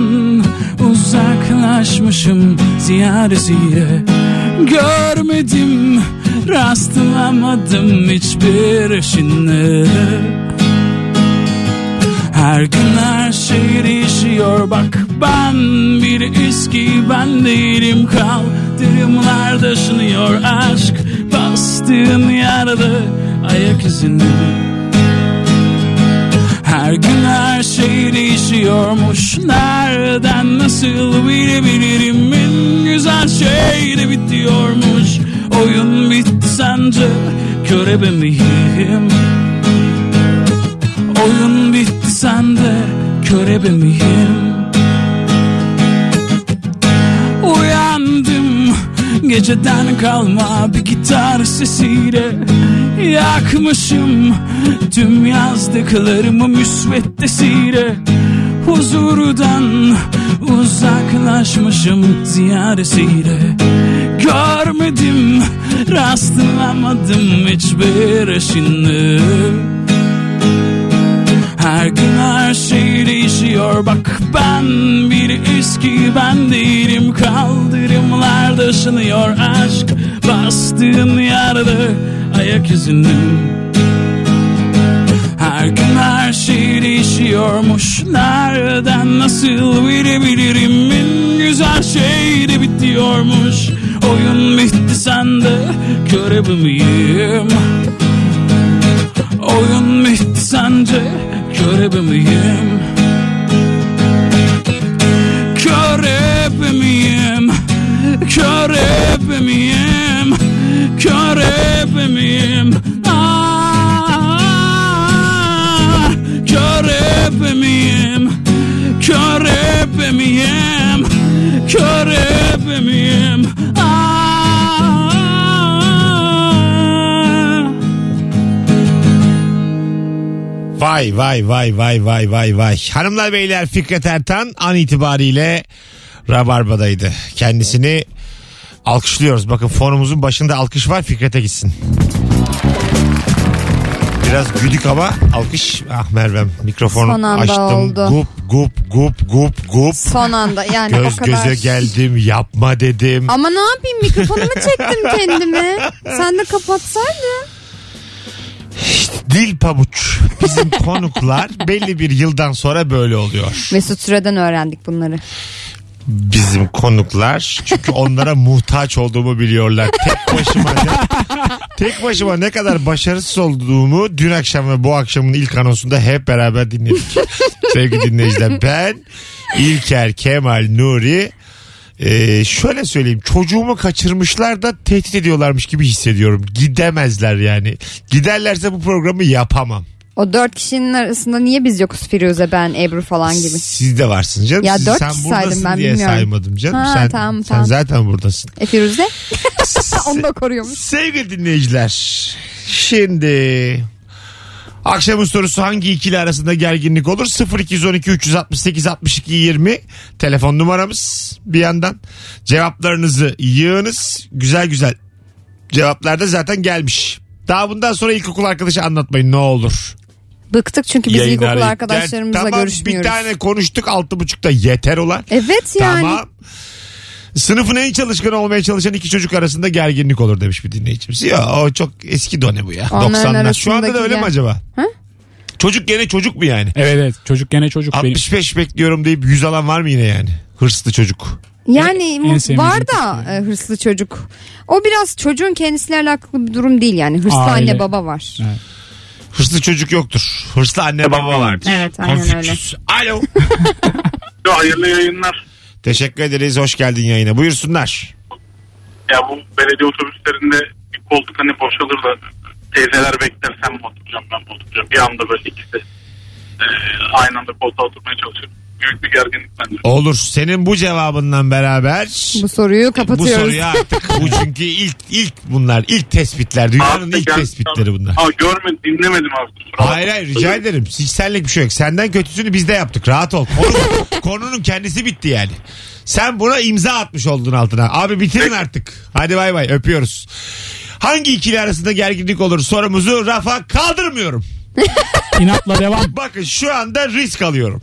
Speaker 7: uzaklaşmışım ziyar zire Görmedim rastlamadım hiçbir ışınlığı her gün her şey değişiyor bak ben bir eski ben değilim kaldırımlar taşınıyor aşk bastığın yerde ayak izinde her gün her şey değişiyormuş Nereden nasıl bilebilirim En güzel şey de bitiyormuş Oyun bitsence körebe miyim Oyun bitti sende körebe miyim Uyandım geceden kalma bir gitar sesiyle Yakmışım tüm yazdıklarımı müsveddesiyle Huzurdan uzaklaşmışım ziyaresiyle Görmedim rastlamadım hiçbir eşini her gün her şey değişiyor bak ben bir eski ben değilim Kaldırımlarda ışınıyor aşk bastığın yerde ayak izini her gün her şey değişiyormuş Nereden nasıl bilebilirim En güzel şey de bitiyormuş Oyun bitti sende körebi miyim? Oyun bitti sence körebi miyim? Körebi miyim? Körebi miyim? Körebi miyim? Aa, Körebi Ah, miyim? Körebi miyim? Körebi miyim? Ah. Aa,
Speaker 2: Vay vay vay vay vay vay vay. Hanımlar beyler Fikret Ertan an itibariyle Rabarba'daydı. Kendisini alkışlıyoruz. Bakın fonumuzun başında alkış var Fikret'e gitsin. Biraz güdük ama alkış. Ah Mervem mikrofonu
Speaker 6: Son anda
Speaker 2: açtım.
Speaker 6: oldu.
Speaker 2: Gup gup gup gup gup.
Speaker 6: Son anda yani
Speaker 2: Göz
Speaker 6: o kadar.
Speaker 2: göze geldim yapma dedim.
Speaker 6: Ama ne yapayım mikrofonumu çektim kendimi. Sen de kapatsaydın.
Speaker 2: Dil pabuç. Bizim konuklar belli bir yıldan sonra böyle oluyor.
Speaker 6: Mesut Süre'den öğrendik bunları.
Speaker 2: bizim konuklar. Çünkü onlara muhtaç olduğumu biliyorlar. Tek başıma ne, tek başıma ne kadar başarısız olduğumu dün akşam ve bu akşamın ilk anonsunda hep beraber dinledik. Sevgili dinleyiciler ben İlker Kemal Nuri e, şöyle söyleyeyim çocuğumu kaçırmışlar da tehdit ediyorlarmış gibi hissediyorum. Gidemezler yani. Giderlerse bu programı yapamam.
Speaker 6: O dört kişinin arasında niye biz yokuz Firuze ben Ebru falan gibi.
Speaker 2: Siz de varsın canım.
Speaker 6: Ya
Speaker 2: Siz-
Speaker 6: dört
Speaker 2: sen
Speaker 6: kişi saydım
Speaker 2: buradasın
Speaker 6: ben,
Speaker 2: diye
Speaker 6: bilmiyorum.
Speaker 2: saymadım canım.
Speaker 6: Ha,
Speaker 2: sen,
Speaker 6: tamam,
Speaker 2: sen
Speaker 6: tamam.
Speaker 2: zaten buradasın.
Speaker 6: E Firuze onu da koruyormuş.
Speaker 2: Sevgili dinleyiciler. Şimdi akşamın sorusu hangi ikili arasında gerginlik olur? 0212 368 62 20 telefon numaramız. Bir yandan cevaplarınızı yığınız. Güzel güzel cevaplar da zaten gelmiş. Daha bundan sonra ilkokul arkadaşı anlatmayın ne olur.
Speaker 6: Bıktık çünkü biz
Speaker 2: Yayını
Speaker 6: ilkokul
Speaker 2: arayın.
Speaker 6: arkadaşlarımızla
Speaker 2: tamam,
Speaker 6: görüşmüyoruz.
Speaker 2: Bir tane konuştuk altı buçukta yeter ulan.
Speaker 6: Evet yani.
Speaker 2: Tamam. Sınıfın en çalışkan olmaya çalışan iki çocuk arasında gerginlik olur demiş bir dinleyicimiz. Ya o çok eski dönem bu ya.
Speaker 6: Onların
Speaker 2: 90'lar. Şu anda da
Speaker 6: arasındaki
Speaker 2: öyle mi
Speaker 6: ya.
Speaker 2: acaba? Çocuk gene çocuk mu yani?
Speaker 7: Evet evet çocuk gene çocuk benim.
Speaker 2: 65 bekliyorum deyip 100 alan var mı yine yani? Hırslı çocuk.
Speaker 6: Yani
Speaker 7: En
Speaker 6: mu-
Speaker 7: sevmediğim
Speaker 6: var da e, hırslı çocuk. O biraz çocuğun kendisiyle alakalı bir durum değil yani. Hırslı
Speaker 7: Aile.
Speaker 6: anne baba var.
Speaker 2: Hırslı çocuk yoktur. Hırslı anne baba vardır.
Speaker 6: Evet, aynen
Speaker 2: Konfüçyüs. Alo.
Speaker 8: Hayırlı yayınlar.
Speaker 2: Teşekkür ederiz. Hoş geldin yayına. Buyursunlar.
Speaker 8: Ya bu belediye otobüslerinde bir koltuk hani boşalır da teyzeler bekler sen mi oturacaksın ben mi oturacağım. Bir anda böyle ikisi e, aynı anda koltuğa oturmaya çalışır. büyük bir gerginlik bence.
Speaker 2: Olur. Senin bu cevabından beraber
Speaker 6: Bu soruyu
Speaker 2: bu
Speaker 6: kapatıyoruz.
Speaker 2: soruyu artık bu çünkü ilk ilk bunlar ilk tespitler dünyanın ilk tespitleri bunlar.
Speaker 8: Aa, görmedim dinlemedim abi. kusura bakma.
Speaker 2: Hayır hayır rica ederim. Hiç senlik bir şey yok. Senden kötüsünü biz de yaptık. Rahat ol. Konu- konunun kendisi bitti yani. Sen buna imza atmış oldun altına. Abi bitirin artık. Hadi bay bay öpüyoruz. Hangi ikili arasında gerginlik olur sorumuzu rafa kaldırmıyorum.
Speaker 7: İnatla devam.
Speaker 2: Bakın şu anda risk alıyorum.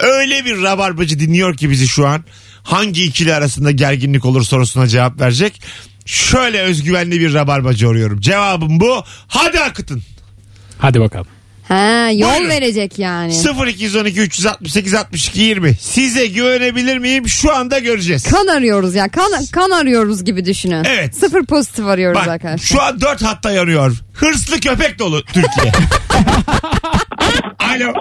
Speaker 2: Öyle bir rabarbacı dinliyor ki bizi şu an. Hangi ikili arasında gerginlik olur sorusuna cevap verecek. Şöyle özgüvenli bir rabarbacı arıyorum. Cevabım bu. Hadi akıtın.
Speaker 7: Hadi bakalım.
Speaker 6: Ha, yol
Speaker 2: Buyurun.
Speaker 6: verecek yani.
Speaker 2: 0212 368 62 20. Size güvenebilir miyim? Şu anda göreceğiz.
Speaker 6: Kan arıyoruz ya. Kan, kan arıyoruz gibi düşünün.
Speaker 2: Evet.
Speaker 6: Sıfır pozitif arıyoruz
Speaker 2: Bak
Speaker 6: arkadaşlar.
Speaker 2: şu an dört hatta yanıyor. Hırslı köpek dolu Türkiye. Alo.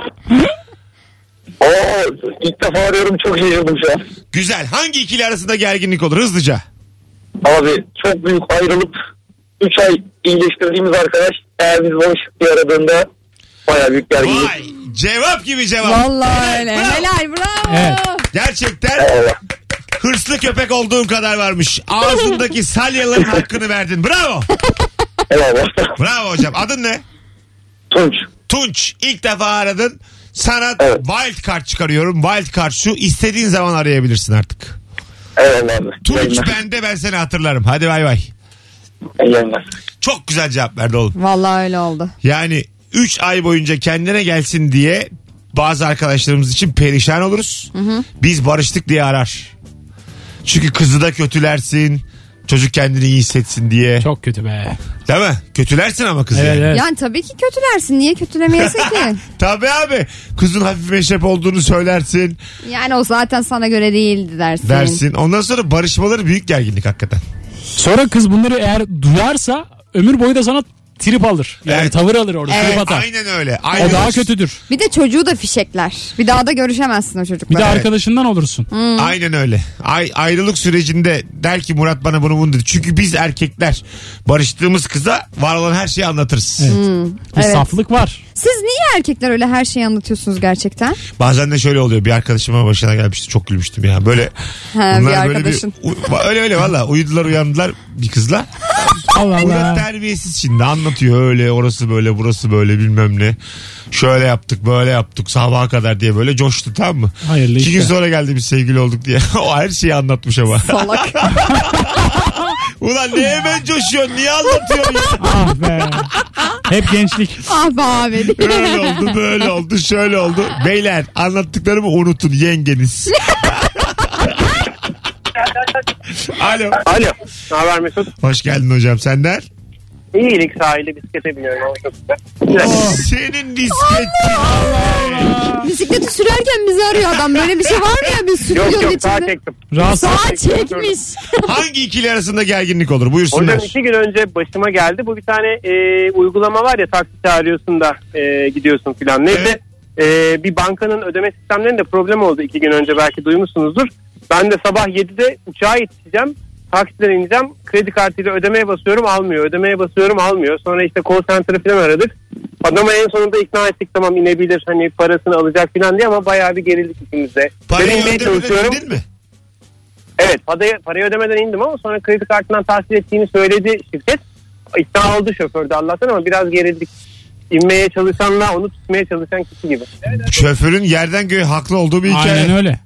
Speaker 5: Oo, ilk defa arıyorum çok şaşırdım şu an.
Speaker 2: Güzel. Hangi ikili arasında gerginlik olur? Hızlıca.
Speaker 5: Abi çok büyük ayrılıp 3 ay iyileştirdiğimiz arkadaş eğer biz barışık diye aradığında baya büyük gerginlik.
Speaker 2: Vay. Cevap gibi cevap.
Speaker 6: Vallahi öyle.
Speaker 2: Bravo.
Speaker 6: Helal bravo.
Speaker 7: Evet.
Speaker 2: Gerçekten
Speaker 5: Eyvallah.
Speaker 2: hırslı köpek olduğun kadar varmış. Ağzındaki salyaların hakkını verdin. Bravo.
Speaker 5: Eyvallah.
Speaker 2: Bravo hocam. Adın ne?
Speaker 5: Tunç.
Speaker 2: Tunç ilk defa aradın. Sana
Speaker 5: Evet.
Speaker 2: wild card çıkarıyorum. Wild card şu. istediğin zaman arayabilirsin artık.
Speaker 5: Eyvallah abi.
Speaker 2: Tunç
Speaker 5: Yayınlar.
Speaker 2: bende ben seni hatırlarım. Hadi bay bay.
Speaker 5: Yayınlar.
Speaker 2: Çok güzel cevap verdi oğlum.
Speaker 6: Vallahi öyle oldu.
Speaker 2: Yani 3 ay boyunca kendine gelsin diye bazı arkadaşlarımız için perişan oluruz. Biz barıştık diye arar. Çünkü kızı da kötülersin. Çocuk kendini iyi hissetsin diye.
Speaker 7: Çok kötü be.
Speaker 2: Değil mi? Kötülersin ama kızı.
Speaker 7: Evet
Speaker 2: yani.
Speaker 7: evet.
Speaker 6: Yani tabii ki kötülersin. Niye kötülemeyesin ki?
Speaker 2: Tabii abi. Kızın hafif meşrep olduğunu söylersin.
Speaker 6: Yani o zaten sana göre değildi dersin.
Speaker 2: Dersin. Ondan sonra barışmaları büyük gerginlik hakikaten.
Speaker 7: Sonra kız bunları eğer duyarsa ömür boyu da sana trip alır. Yani
Speaker 2: Evet.
Speaker 7: tavır alır orada trip atar.
Speaker 2: Aynen öyle. Aynen
Speaker 7: O daha
Speaker 2: öyle.
Speaker 7: kötüdür.
Speaker 6: Bir de çocuğu da fişekler. Bir daha da görüşemezsin o
Speaker 7: Bir de
Speaker 6: çocukla.
Speaker 7: arkadaşından olursun.
Speaker 2: Aynen öyle. Ay, ayrılık sürecinde der ki Murat bana bunu bunu dedi. Çünkü biz erkekler barıştığımız kıza var olan her şeyi anlatırız.
Speaker 7: Bir
Speaker 6: Evet.
Speaker 7: saflık var.
Speaker 6: Siz niye erkekler öyle her şeyi anlatıyorsunuz gerçekten?
Speaker 2: Bazen de şöyle oluyor. Bir arkadaşıma başına gelmişti. Çok gülmüştüm ya. Böyle
Speaker 6: Ha, bir
Speaker 2: bunlar böyle bir
Speaker 6: arkadaşın.
Speaker 2: u- öyle öyle valla. Uyudular uyandılar bir kızla.
Speaker 7: Allah
Speaker 2: Murat
Speaker 7: Allah.
Speaker 2: terbiyesiz şimdi anlatıyor öyle orası böyle burası böyle bilmem ne. Şöyle yaptık böyle yaptık sabaha kadar diye böyle coştu tamam mı?
Speaker 7: Hayırlı
Speaker 2: İki gün
Speaker 7: işte.
Speaker 2: sonra geldi biz sevgili olduk diye. o her şeyi anlatmış ama.
Speaker 6: Salak.
Speaker 2: Ulan ne hemen coşuyorsun niye anlatıyorsun ya?
Speaker 7: Ah be. Hep gençlik.
Speaker 6: ah be abi.
Speaker 2: Öyle oldu böyle oldu şöyle oldu. Beyler anlattıklarımı unutun yengeniz. Alo.
Speaker 8: Alo. Ne haber Mesut?
Speaker 2: Hoş geldin hocam senden.
Speaker 8: İyilik sahili bisiklete biniyorum. ama çok güzel.
Speaker 2: Senin disket.
Speaker 6: Bisikleti sürerken bizi arıyor adam. Böyle bir şey var mı ya biz
Speaker 8: Yok
Speaker 6: stüdyonun
Speaker 8: yok daha
Speaker 6: içinde?
Speaker 8: çektim.
Speaker 7: Rahatsız.
Speaker 6: Sağa çekmiş.
Speaker 2: Hangi ikili arasında gerginlik olur?
Speaker 8: Hocam
Speaker 2: Buyursunlar.
Speaker 8: iki gün önce başıma geldi. Bu bir tane e, uygulama var ya taksi çağırıyorsun da e, gidiyorsun filan. Neyse e, bir bankanın ödeme sistemlerinde problem oldu iki gün önce belki duymuşsunuzdur. Ben de sabah 7'de uçağa yetişeceğim. Taksiden ineceğim. Kredi kartıyla ödemeye basıyorum almıyor. Ödemeye basıyorum almıyor. Sonra işte call center'ı falan aradık. Adama en sonunda ikna ettik tamam inebilir hani parasını alacak filan diye ama bayağı bir gerildik ikimiz de. Ben
Speaker 2: Parayı
Speaker 8: inmeye
Speaker 2: ödemeden
Speaker 8: çalışıyorum.
Speaker 2: bildin mi?
Speaker 8: Evet parayı, parayı ödemeden indim ama sonra kredi kartından tahsil ettiğini söyledi şirket. İkna oldu şoförde Allah'tan ama biraz gerildik. İnmeye çalışanla onu tutmaya çalışan kişi gibi.
Speaker 2: Şoförün yerden göğe haklı olduğu bir hikaye.
Speaker 7: Aynen öyle.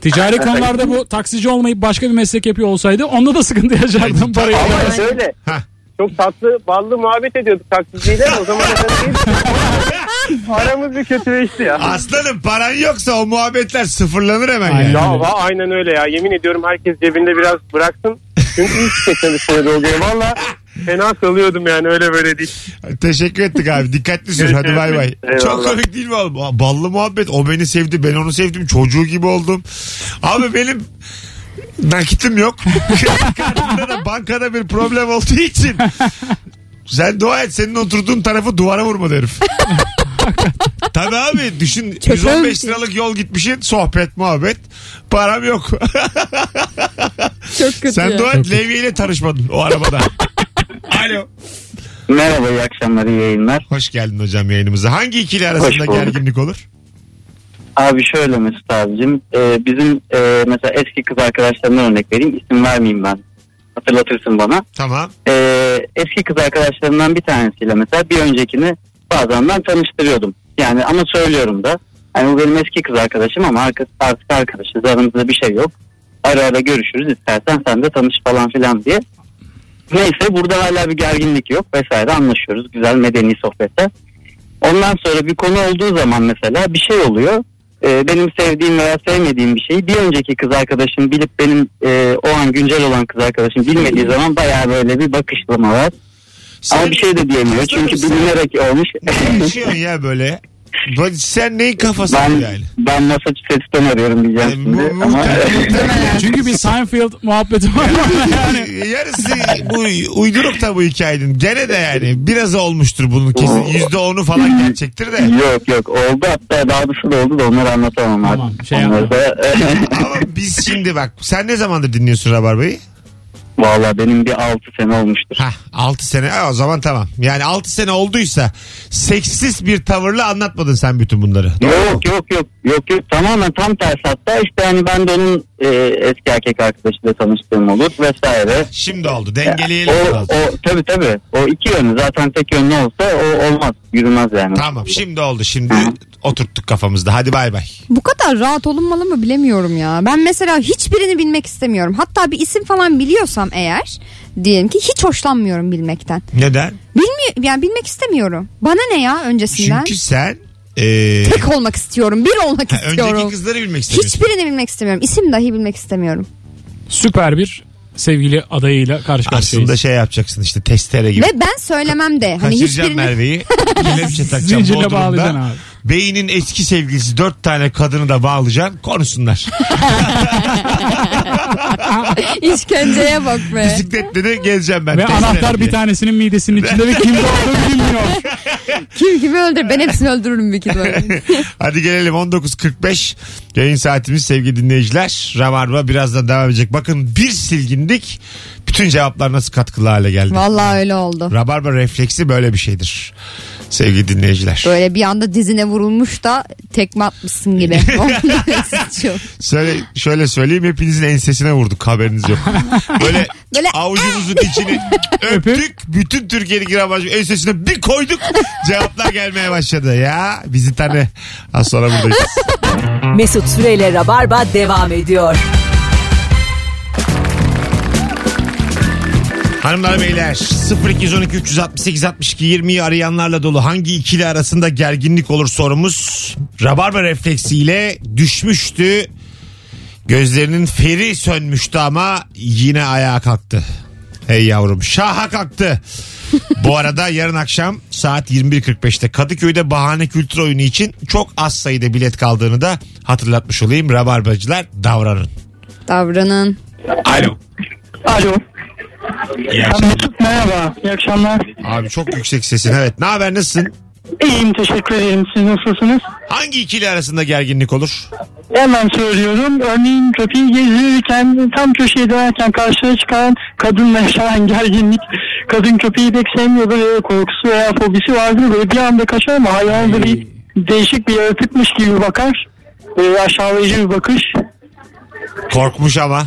Speaker 7: Ticari konularda bu taksici olmayıp başka bir meslek yapıyor olsaydı onda da sıkıntı yaşardım parayı.
Speaker 8: Ama şöyle
Speaker 2: Hah.
Speaker 8: çok tatlı ballı muhabbet ediyorduk taksiciyle o zaman efendim değil. aramız bir kötüleşti ya.
Speaker 2: Aslanım paran yoksa o muhabbetler sıfırlanır hemen
Speaker 7: Aynen.
Speaker 2: yani.
Speaker 8: Ya va- aynen öyle ya yemin ediyorum herkes cebinde biraz bıraksın. Çünkü iyi şirketten üstüne dolguya valla fena salıyordum yani öyle böyle değil.
Speaker 2: Teşekkür ettik abi. Dikkatli sür. Hadi bay bay.
Speaker 8: Eyvallah.
Speaker 2: Çok komik değil mi oğlum? Ballı muhabbet. O beni sevdi. Ben onu sevdim. Çocuğu gibi oldum. Abi benim nakitim yok. Kartımda da bankada bir problem olduğu için. Sen dua et. Senin oturduğun tarafı duvara vurmadı herif. Tabii abi düşün 115 liralık yol gitmişsin sohbet muhabbet param yok.
Speaker 6: Çok kötü.
Speaker 2: Sen
Speaker 6: ya.
Speaker 2: dua et Levi ile tanışmadın o arabada. Alo.
Speaker 12: Merhaba iyi akşamlar iyi yayınlar.
Speaker 2: Hoş geldin hocam yayınımıza. Hangi ikili
Speaker 12: Hoş
Speaker 2: arasında
Speaker 12: bulduk.
Speaker 2: gerginlik olur?
Speaker 12: Abi şöyle Mesut abicim. e, bizim e, mesela eski kız arkadaşlarımdan örnek vereyim. İsim vermeyeyim ben. Hatırlatırsın bana.
Speaker 2: Tamam.
Speaker 12: E, eski kız arkadaşlarımdan bir tanesiyle mesela bir öncekini bazen ben tanıştırıyordum. Yani ama söylüyorum da. Hani bu benim eski kız arkadaşım ama arka- artık arkadaşız. Aramızda bir şey yok. Ara ara görüşürüz istersen sen de tanış falan filan diye. Neyse burada hala bir gerginlik yok vesaire anlaşıyoruz. Güzel medeni sohbette. Ondan sonra bir konu olduğu zaman mesela bir şey oluyor. Ee, benim sevdiğim veya sevmediğim bir şeyi bir önceki kız arkadaşım bilip benim e, o an güncel olan kız arkadaşım bilmediği zaman bayağı böyle bir bakışlama var. Ama bir şey de diyemiyor çünkü
Speaker 2: sen-
Speaker 12: bilinerek olmuş.
Speaker 2: Ne yaşıyorsun ya böyle? Bu- Sen E, neyin kafasın
Speaker 12: ben,
Speaker 2: yani?
Speaker 12: ben Massachusetts'ten arıyorum diyeceğim
Speaker 2: Yani
Speaker 12: şimdi.
Speaker 2: mu- mu-
Speaker 12: Ama,
Speaker 7: Çünkü bir Seinfeld muhabbeti var. yani.
Speaker 2: Yarısı bu uyduruk da bu hikayenin. Gene de yani biraz olmuştur bunun kesin.
Speaker 12: Oh.
Speaker 2: Yüzde onu falan gerçektir de.
Speaker 12: yok yok oldu hatta daha da oldu da onları anlatamam abi.
Speaker 7: Tamam, şey
Speaker 12: Onları da,
Speaker 2: Ama biz şimdi bak sen ne zamandır dinliyorsun Rabarba'yı?
Speaker 12: Valla benim bir 6 sene olmuştur.
Speaker 2: Hah 6 sene Ha, o zaman tamam. Yani 6 sene olduysa seksist bir tavırla anlatmadın sen bütün bunları.
Speaker 12: Yok yok yok yok yok tamamen tam tersi hatta işte hani ben de onun e, eski erkek arkadaşıyla tanıştığım olur vesaire.
Speaker 2: Şimdi oldu
Speaker 12: O,
Speaker 2: dengeleyelim biraz.
Speaker 12: o tabi tabi o iki yönü zaten tek yönlü olsa o olmaz yürümez yani.
Speaker 2: Tamam şimdi oldu şimdi oturttuk kafamızda hadi bay bay.
Speaker 6: Bu kadar rahat olunmalı mı bilemiyorum ya. Ben mesela hiçbirini bilmek istemiyorum. Hatta bir isim falan biliyorsam eğer diyelim ki hiç hoşlanmıyorum bilmekten.
Speaker 2: Neden?
Speaker 6: Bilmiyor yani bilmek istemiyorum. Bana ne ya öncesinden?
Speaker 2: Çünkü sen e,
Speaker 6: Tek olmak istiyorum, bir olmak
Speaker 2: ha, önceki
Speaker 6: istiyorum.
Speaker 2: kızları bilmek istemiyorsun.
Speaker 6: Hiçbirini bilmek istemiyorum. İsim dahi bilmek istemiyorum.
Speaker 7: Süper bir sevgili adayıyla karşı karşıyayız.
Speaker 2: Aslında şey yapacaksın işte testere gibi.
Speaker 6: Ve ben söylemem de. Hani
Speaker 2: Kaçıracağım
Speaker 6: hiçbirini
Speaker 2: Merve'yi. Kelepçe takacağım
Speaker 7: Zincirle
Speaker 2: Bodrum'da.
Speaker 7: bağlayacaksın abi.
Speaker 2: Beynin eski sevgilisi dört tane kadını da bağlayacaksın. Konuşsunlar.
Speaker 6: işkenceye bak be.
Speaker 2: Bisikletle de gezeceğim ben.
Speaker 7: Ve
Speaker 2: testere
Speaker 7: anahtar
Speaker 2: Hani diye.
Speaker 7: bir tanesinin midesinin içinde ve kimde olduğunu bilmiyor.
Speaker 6: Kim kimi öldür? Ben hepsini öldürürüm bir kere.
Speaker 2: Hadi gelelim 19.45 yayın saatimiz sevgili dinleyiciler. Rabarba birazdan devam edecek. Bakın bir silgindik. Bütün cevaplar nasıl katkılı hale geldi.
Speaker 6: Vallahi öyle oldu.
Speaker 2: Rabarba refleksi böyle bir şeydir. Sevgili dinleyiciler.
Speaker 6: Böyle bir anda dizine vurulmuş da tekme atmışsın gibi. Çok.
Speaker 2: Söyle, şöyle söyleyeyim hepinizin ensesine vurduk haberiniz yok. Böyle,
Speaker 6: Böyle-
Speaker 2: avucumuzun içini öptük. Bütün Türkiye'deki Rabarba'nın ensesine bir koyduk. Cevaplar gelmeye başladı. Ya bizi tane az sonra buradayız.
Speaker 1: Mesut Süreyle Rabarba devam ediyor.
Speaker 2: Hanımlar beyler 0212 368 62 20'yi arayanlarla dolu hangi ikili arasında gerginlik olur sorumuz. Rabarba refleksiyle düşmüştü. Gözlerinin feri sönmüştü ama yine ayağa kalktı. Hey yavrum şaha kalktı. Bu arada yarın akşam saat 21.45'te Kadıköy'de bahane kültür oyunu için çok az sayıda bilet kaldığını da hatırlatmış olayım. Rabarbacılar davranın.
Speaker 6: Davranın.
Speaker 2: Alo.
Speaker 13: Alo.
Speaker 2: İyi akşamlar.
Speaker 13: Mesut merhaba. İyi akşamlar.
Speaker 2: Abi çok yüksek sesin evet. Ne haber nasılsın?
Speaker 13: İyiyim teşekkür ederim. Siz nasılsınız?
Speaker 2: Hangi ikili arasında gerginlik olur?
Speaker 13: Hemen söylüyorum. Örneğin köpeği gezdirirken tam köşeye dönerken karşıya çıkan kadınla yaşanan gerginlik. Kadın köpeği pek sevmiyor böyle korkusu veya fobisi vardır. Böyle bir anda kaçar ama hayvan da bir değişik bir yaratıkmış gibi bakar. Böyle aşağılayıcı bir bakış.
Speaker 2: Korkmuş ama.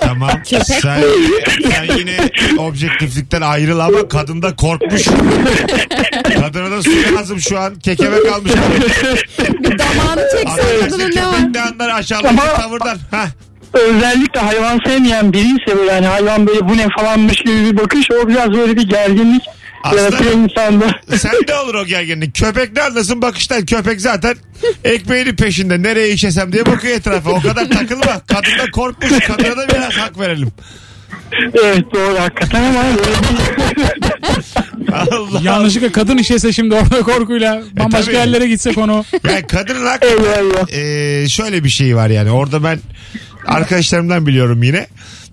Speaker 2: tamam. Sen, sen yine objektiflikten ayrıl ama kadın da korkmuş. Kadına da su lazım şu an. Kekeme kalmış.
Speaker 6: Damağını çeksen
Speaker 2: Arkadaşlar
Speaker 6: kadının ne var?
Speaker 2: köpek de anlar aşağıdaki
Speaker 13: Ama-
Speaker 2: tavırdan. Hah.
Speaker 13: Özellikle hayvan sevmeyen biriyse böyle hani hayvan böyle bu ne falanmış gibi bir bakış o biraz böyle bir gerginlik
Speaker 2: Aslında-
Speaker 13: yaratıyor insanda.
Speaker 2: Sen de olur o gerginlik. Köpek ne anlasın bakıştan. Köpek zaten ekmeğinin peşinde. Nereye işesem diye bakıyor etrafa. O kadar takılma. Kadın da korkmuş. Kadına da biraz hak verelim.
Speaker 13: Evet doğru hakikaten ama böyle bir...
Speaker 2: Allah.
Speaker 7: Yanlışlıkla kadın işese şimdi orada korkuyla bambaşka
Speaker 2: E, tabii.
Speaker 7: yerlere gitsek onu.
Speaker 2: Yani kadının hak
Speaker 13: Eyvallah.
Speaker 2: şey Ee, şöyle bir şey var yani orada ben arkadaşlarımdan biliyorum yine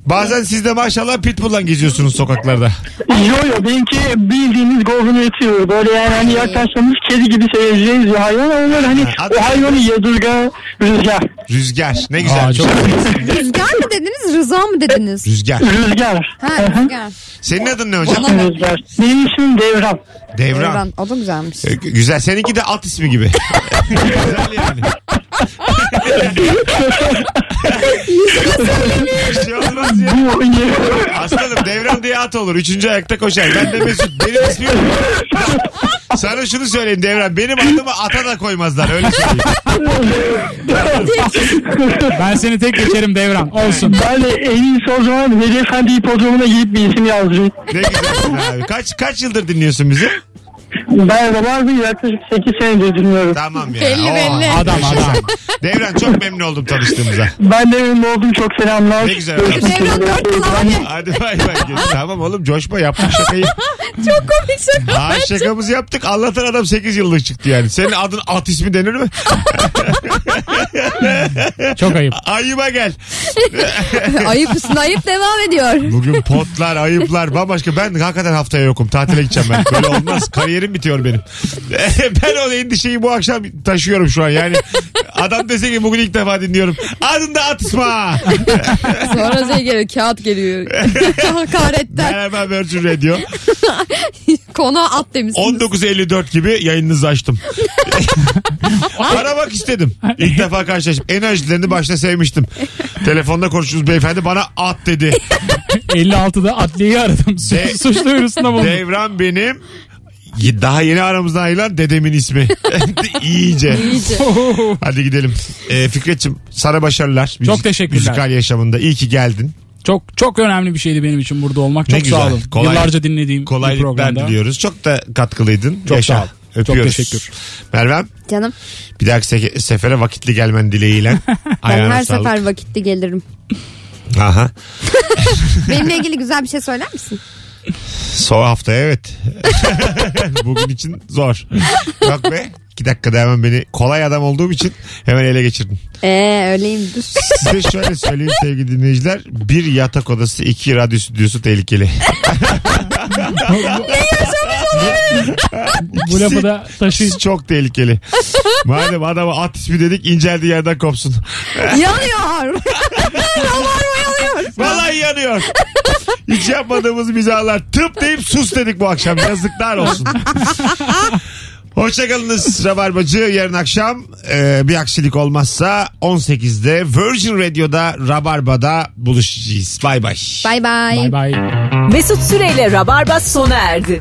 Speaker 2: Bazen siz de maşallah pitbull'la geziyorsunuz sokaklarda.
Speaker 13: Yo yo benimki bildiğiniz golden retriever. Böyle yani hani yaklaşmamız kedi gibi seveceğiz bir hayvan. Onlar hani
Speaker 2: Ee. Ha,
Speaker 13: o hayvanı yadırga rüzgar.
Speaker 2: Rüzgar. Ne güzel.
Speaker 7: Aa, çok
Speaker 6: Rüzgar mı dediniz Rıza mı dediniz?
Speaker 2: Rüzgar.
Speaker 13: Rüzgar.
Speaker 6: Ha rüzgar.
Speaker 2: Senin adın ne
Speaker 6: Ona
Speaker 2: hocam?
Speaker 6: bak.
Speaker 13: Rüzgar. Benim ismim Devran.
Speaker 2: Devran.
Speaker 6: Devran. O da güzelmiş.
Speaker 2: Ee, Güzel. Seninki de at ismi gibi. güzel yani. Bir şey olmaz ya.
Speaker 13: Bu oynuyor.
Speaker 2: Aslanım devran diye at olur. Üçüncü ayakta koşar. Ben de Mesut. Benim ismim. Sana şunu söyleyeyim devran. Benim adımı ata da koymazlar. Öyle söyleyeyim.
Speaker 7: Ben seni tek geçerim Devran. Olsun.
Speaker 13: Ben de en iyisi o zaman Veli Efendi hipodromuna gidip bir isim yazdırayım.
Speaker 2: Ne güzelsin abi. Kaç, kaç yıldır dinliyorsun bizi?
Speaker 13: Ben de vardı yaklaşık 8 senedir dinliyorum.
Speaker 2: Tamam ya.
Speaker 6: Belli,
Speaker 2: Oo,
Speaker 6: belli.
Speaker 7: Adam, adam.
Speaker 2: Devran çok memnun oldum tanıştığımıza.
Speaker 13: Ben de memnun oldum çok selamlar.
Speaker 2: Ne güzel.
Speaker 13: Görüşmek üzere.
Speaker 6: Devran dört yıl abi.
Speaker 2: Hadi bay bay. Tamam oğlum coşma yaptık şakayı.
Speaker 6: Çok komik
Speaker 3: şey
Speaker 6: şaka.
Speaker 2: Ha, şakamızı yaptık. Anlatan adam 8 yıllık çıktı yani. Senin adın at ismi denir mi?
Speaker 7: Çok ayıp.
Speaker 2: Ayıba gel.
Speaker 6: ayıp üstüne ayıp devam ediyor.
Speaker 2: Bugün potlar, ayıplar bambaşka. Ben hakikaten haftaya yokum. Tatile gideceğim ben. Böyle olmaz. Kariyerim bitiyor benim. ben o endişeyi bu akşam taşıyorum şu an. Yani adam dese ki bugün ilk defa dinliyorum. Adın da at ismi ha.
Speaker 6: Sonra şey geliyor kağıt geliyor. Hakaretten.
Speaker 2: Merhaba Virgin Radio.
Speaker 6: Konağa at demişsiniz.
Speaker 2: 19.54 gibi yayınınızı açtım. Aramak istedim. İlk defa karşılaştım. Enerjilerini başta sevmiştim. Telefonda konuştuğunuz beyefendi bana at dedi.
Speaker 7: 56'da adliyeyi aradım.
Speaker 2: De-
Speaker 7: Su- Suç duyurusunda bulundum.
Speaker 2: Devran benim daha yeni aramızdan ayrılan dedemin ismi. İyice. Hadi gidelim. Ee, Fikret'ciğim sana başarılar. Müzik-
Speaker 7: teşekkürler.
Speaker 2: Müzikal yaşamında. İyi ki geldin.
Speaker 7: Çok çok önemli bir şeydi benim için burada olmak. Çok
Speaker 2: güzel.
Speaker 7: sağ olun.
Speaker 2: Kolay-
Speaker 7: Yıllarca dinlediğim bir
Speaker 2: Kolaylıklar
Speaker 7: programda.
Speaker 2: diliyoruz. Çok da katkılıydın.
Speaker 7: Çok
Speaker 2: Yaşa.
Speaker 7: sağ ol. Çok
Speaker 2: Öpüyoruz.
Speaker 7: teşekkür.
Speaker 2: Mervem
Speaker 6: Canım
Speaker 2: bir dahaki se- sefere vakitli gelmen dileğiyle.
Speaker 6: ben
Speaker 2: Ayağına
Speaker 6: her
Speaker 2: sağlık.
Speaker 6: sefer vakitli gelirim.
Speaker 2: Aha.
Speaker 6: Benimle ilgili güzel bir şey söyler misin?
Speaker 2: Son hafta evet. Bugün için zor. Yok be. İki dakikada hemen beni kolay adam olduğum için hemen ele geçirdin.
Speaker 6: Eee öyleyimdir.
Speaker 2: Size şöyle söyleyeyim sevgili dinleyiciler. Bir yatak odası, iki radyo stüdyosu tehlikeli.
Speaker 7: Bu lafı da taşıyın.
Speaker 2: Siz çok tehlikeli. Madem adama at ismi dedik inceldiği yerden kopsun.
Speaker 6: Yanıyor.
Speaker 2: Vallahi yanıyor. Hiç yapmadığımız mizahlar. Tıp deyip sus dedik bu akşam. Yazıklar olsun. Hoşçakalınız Rabarbacı. Yarın akşam e, bir aksilik olmazsa 18'de Virgin Radio'da Rabarba'da buluşacağız. Bay bay.
Speaker 6: Bay bay.
Speaker 7: Bay bay.
Speaker 1: Mesut Süreyle Rabarba sona erdi.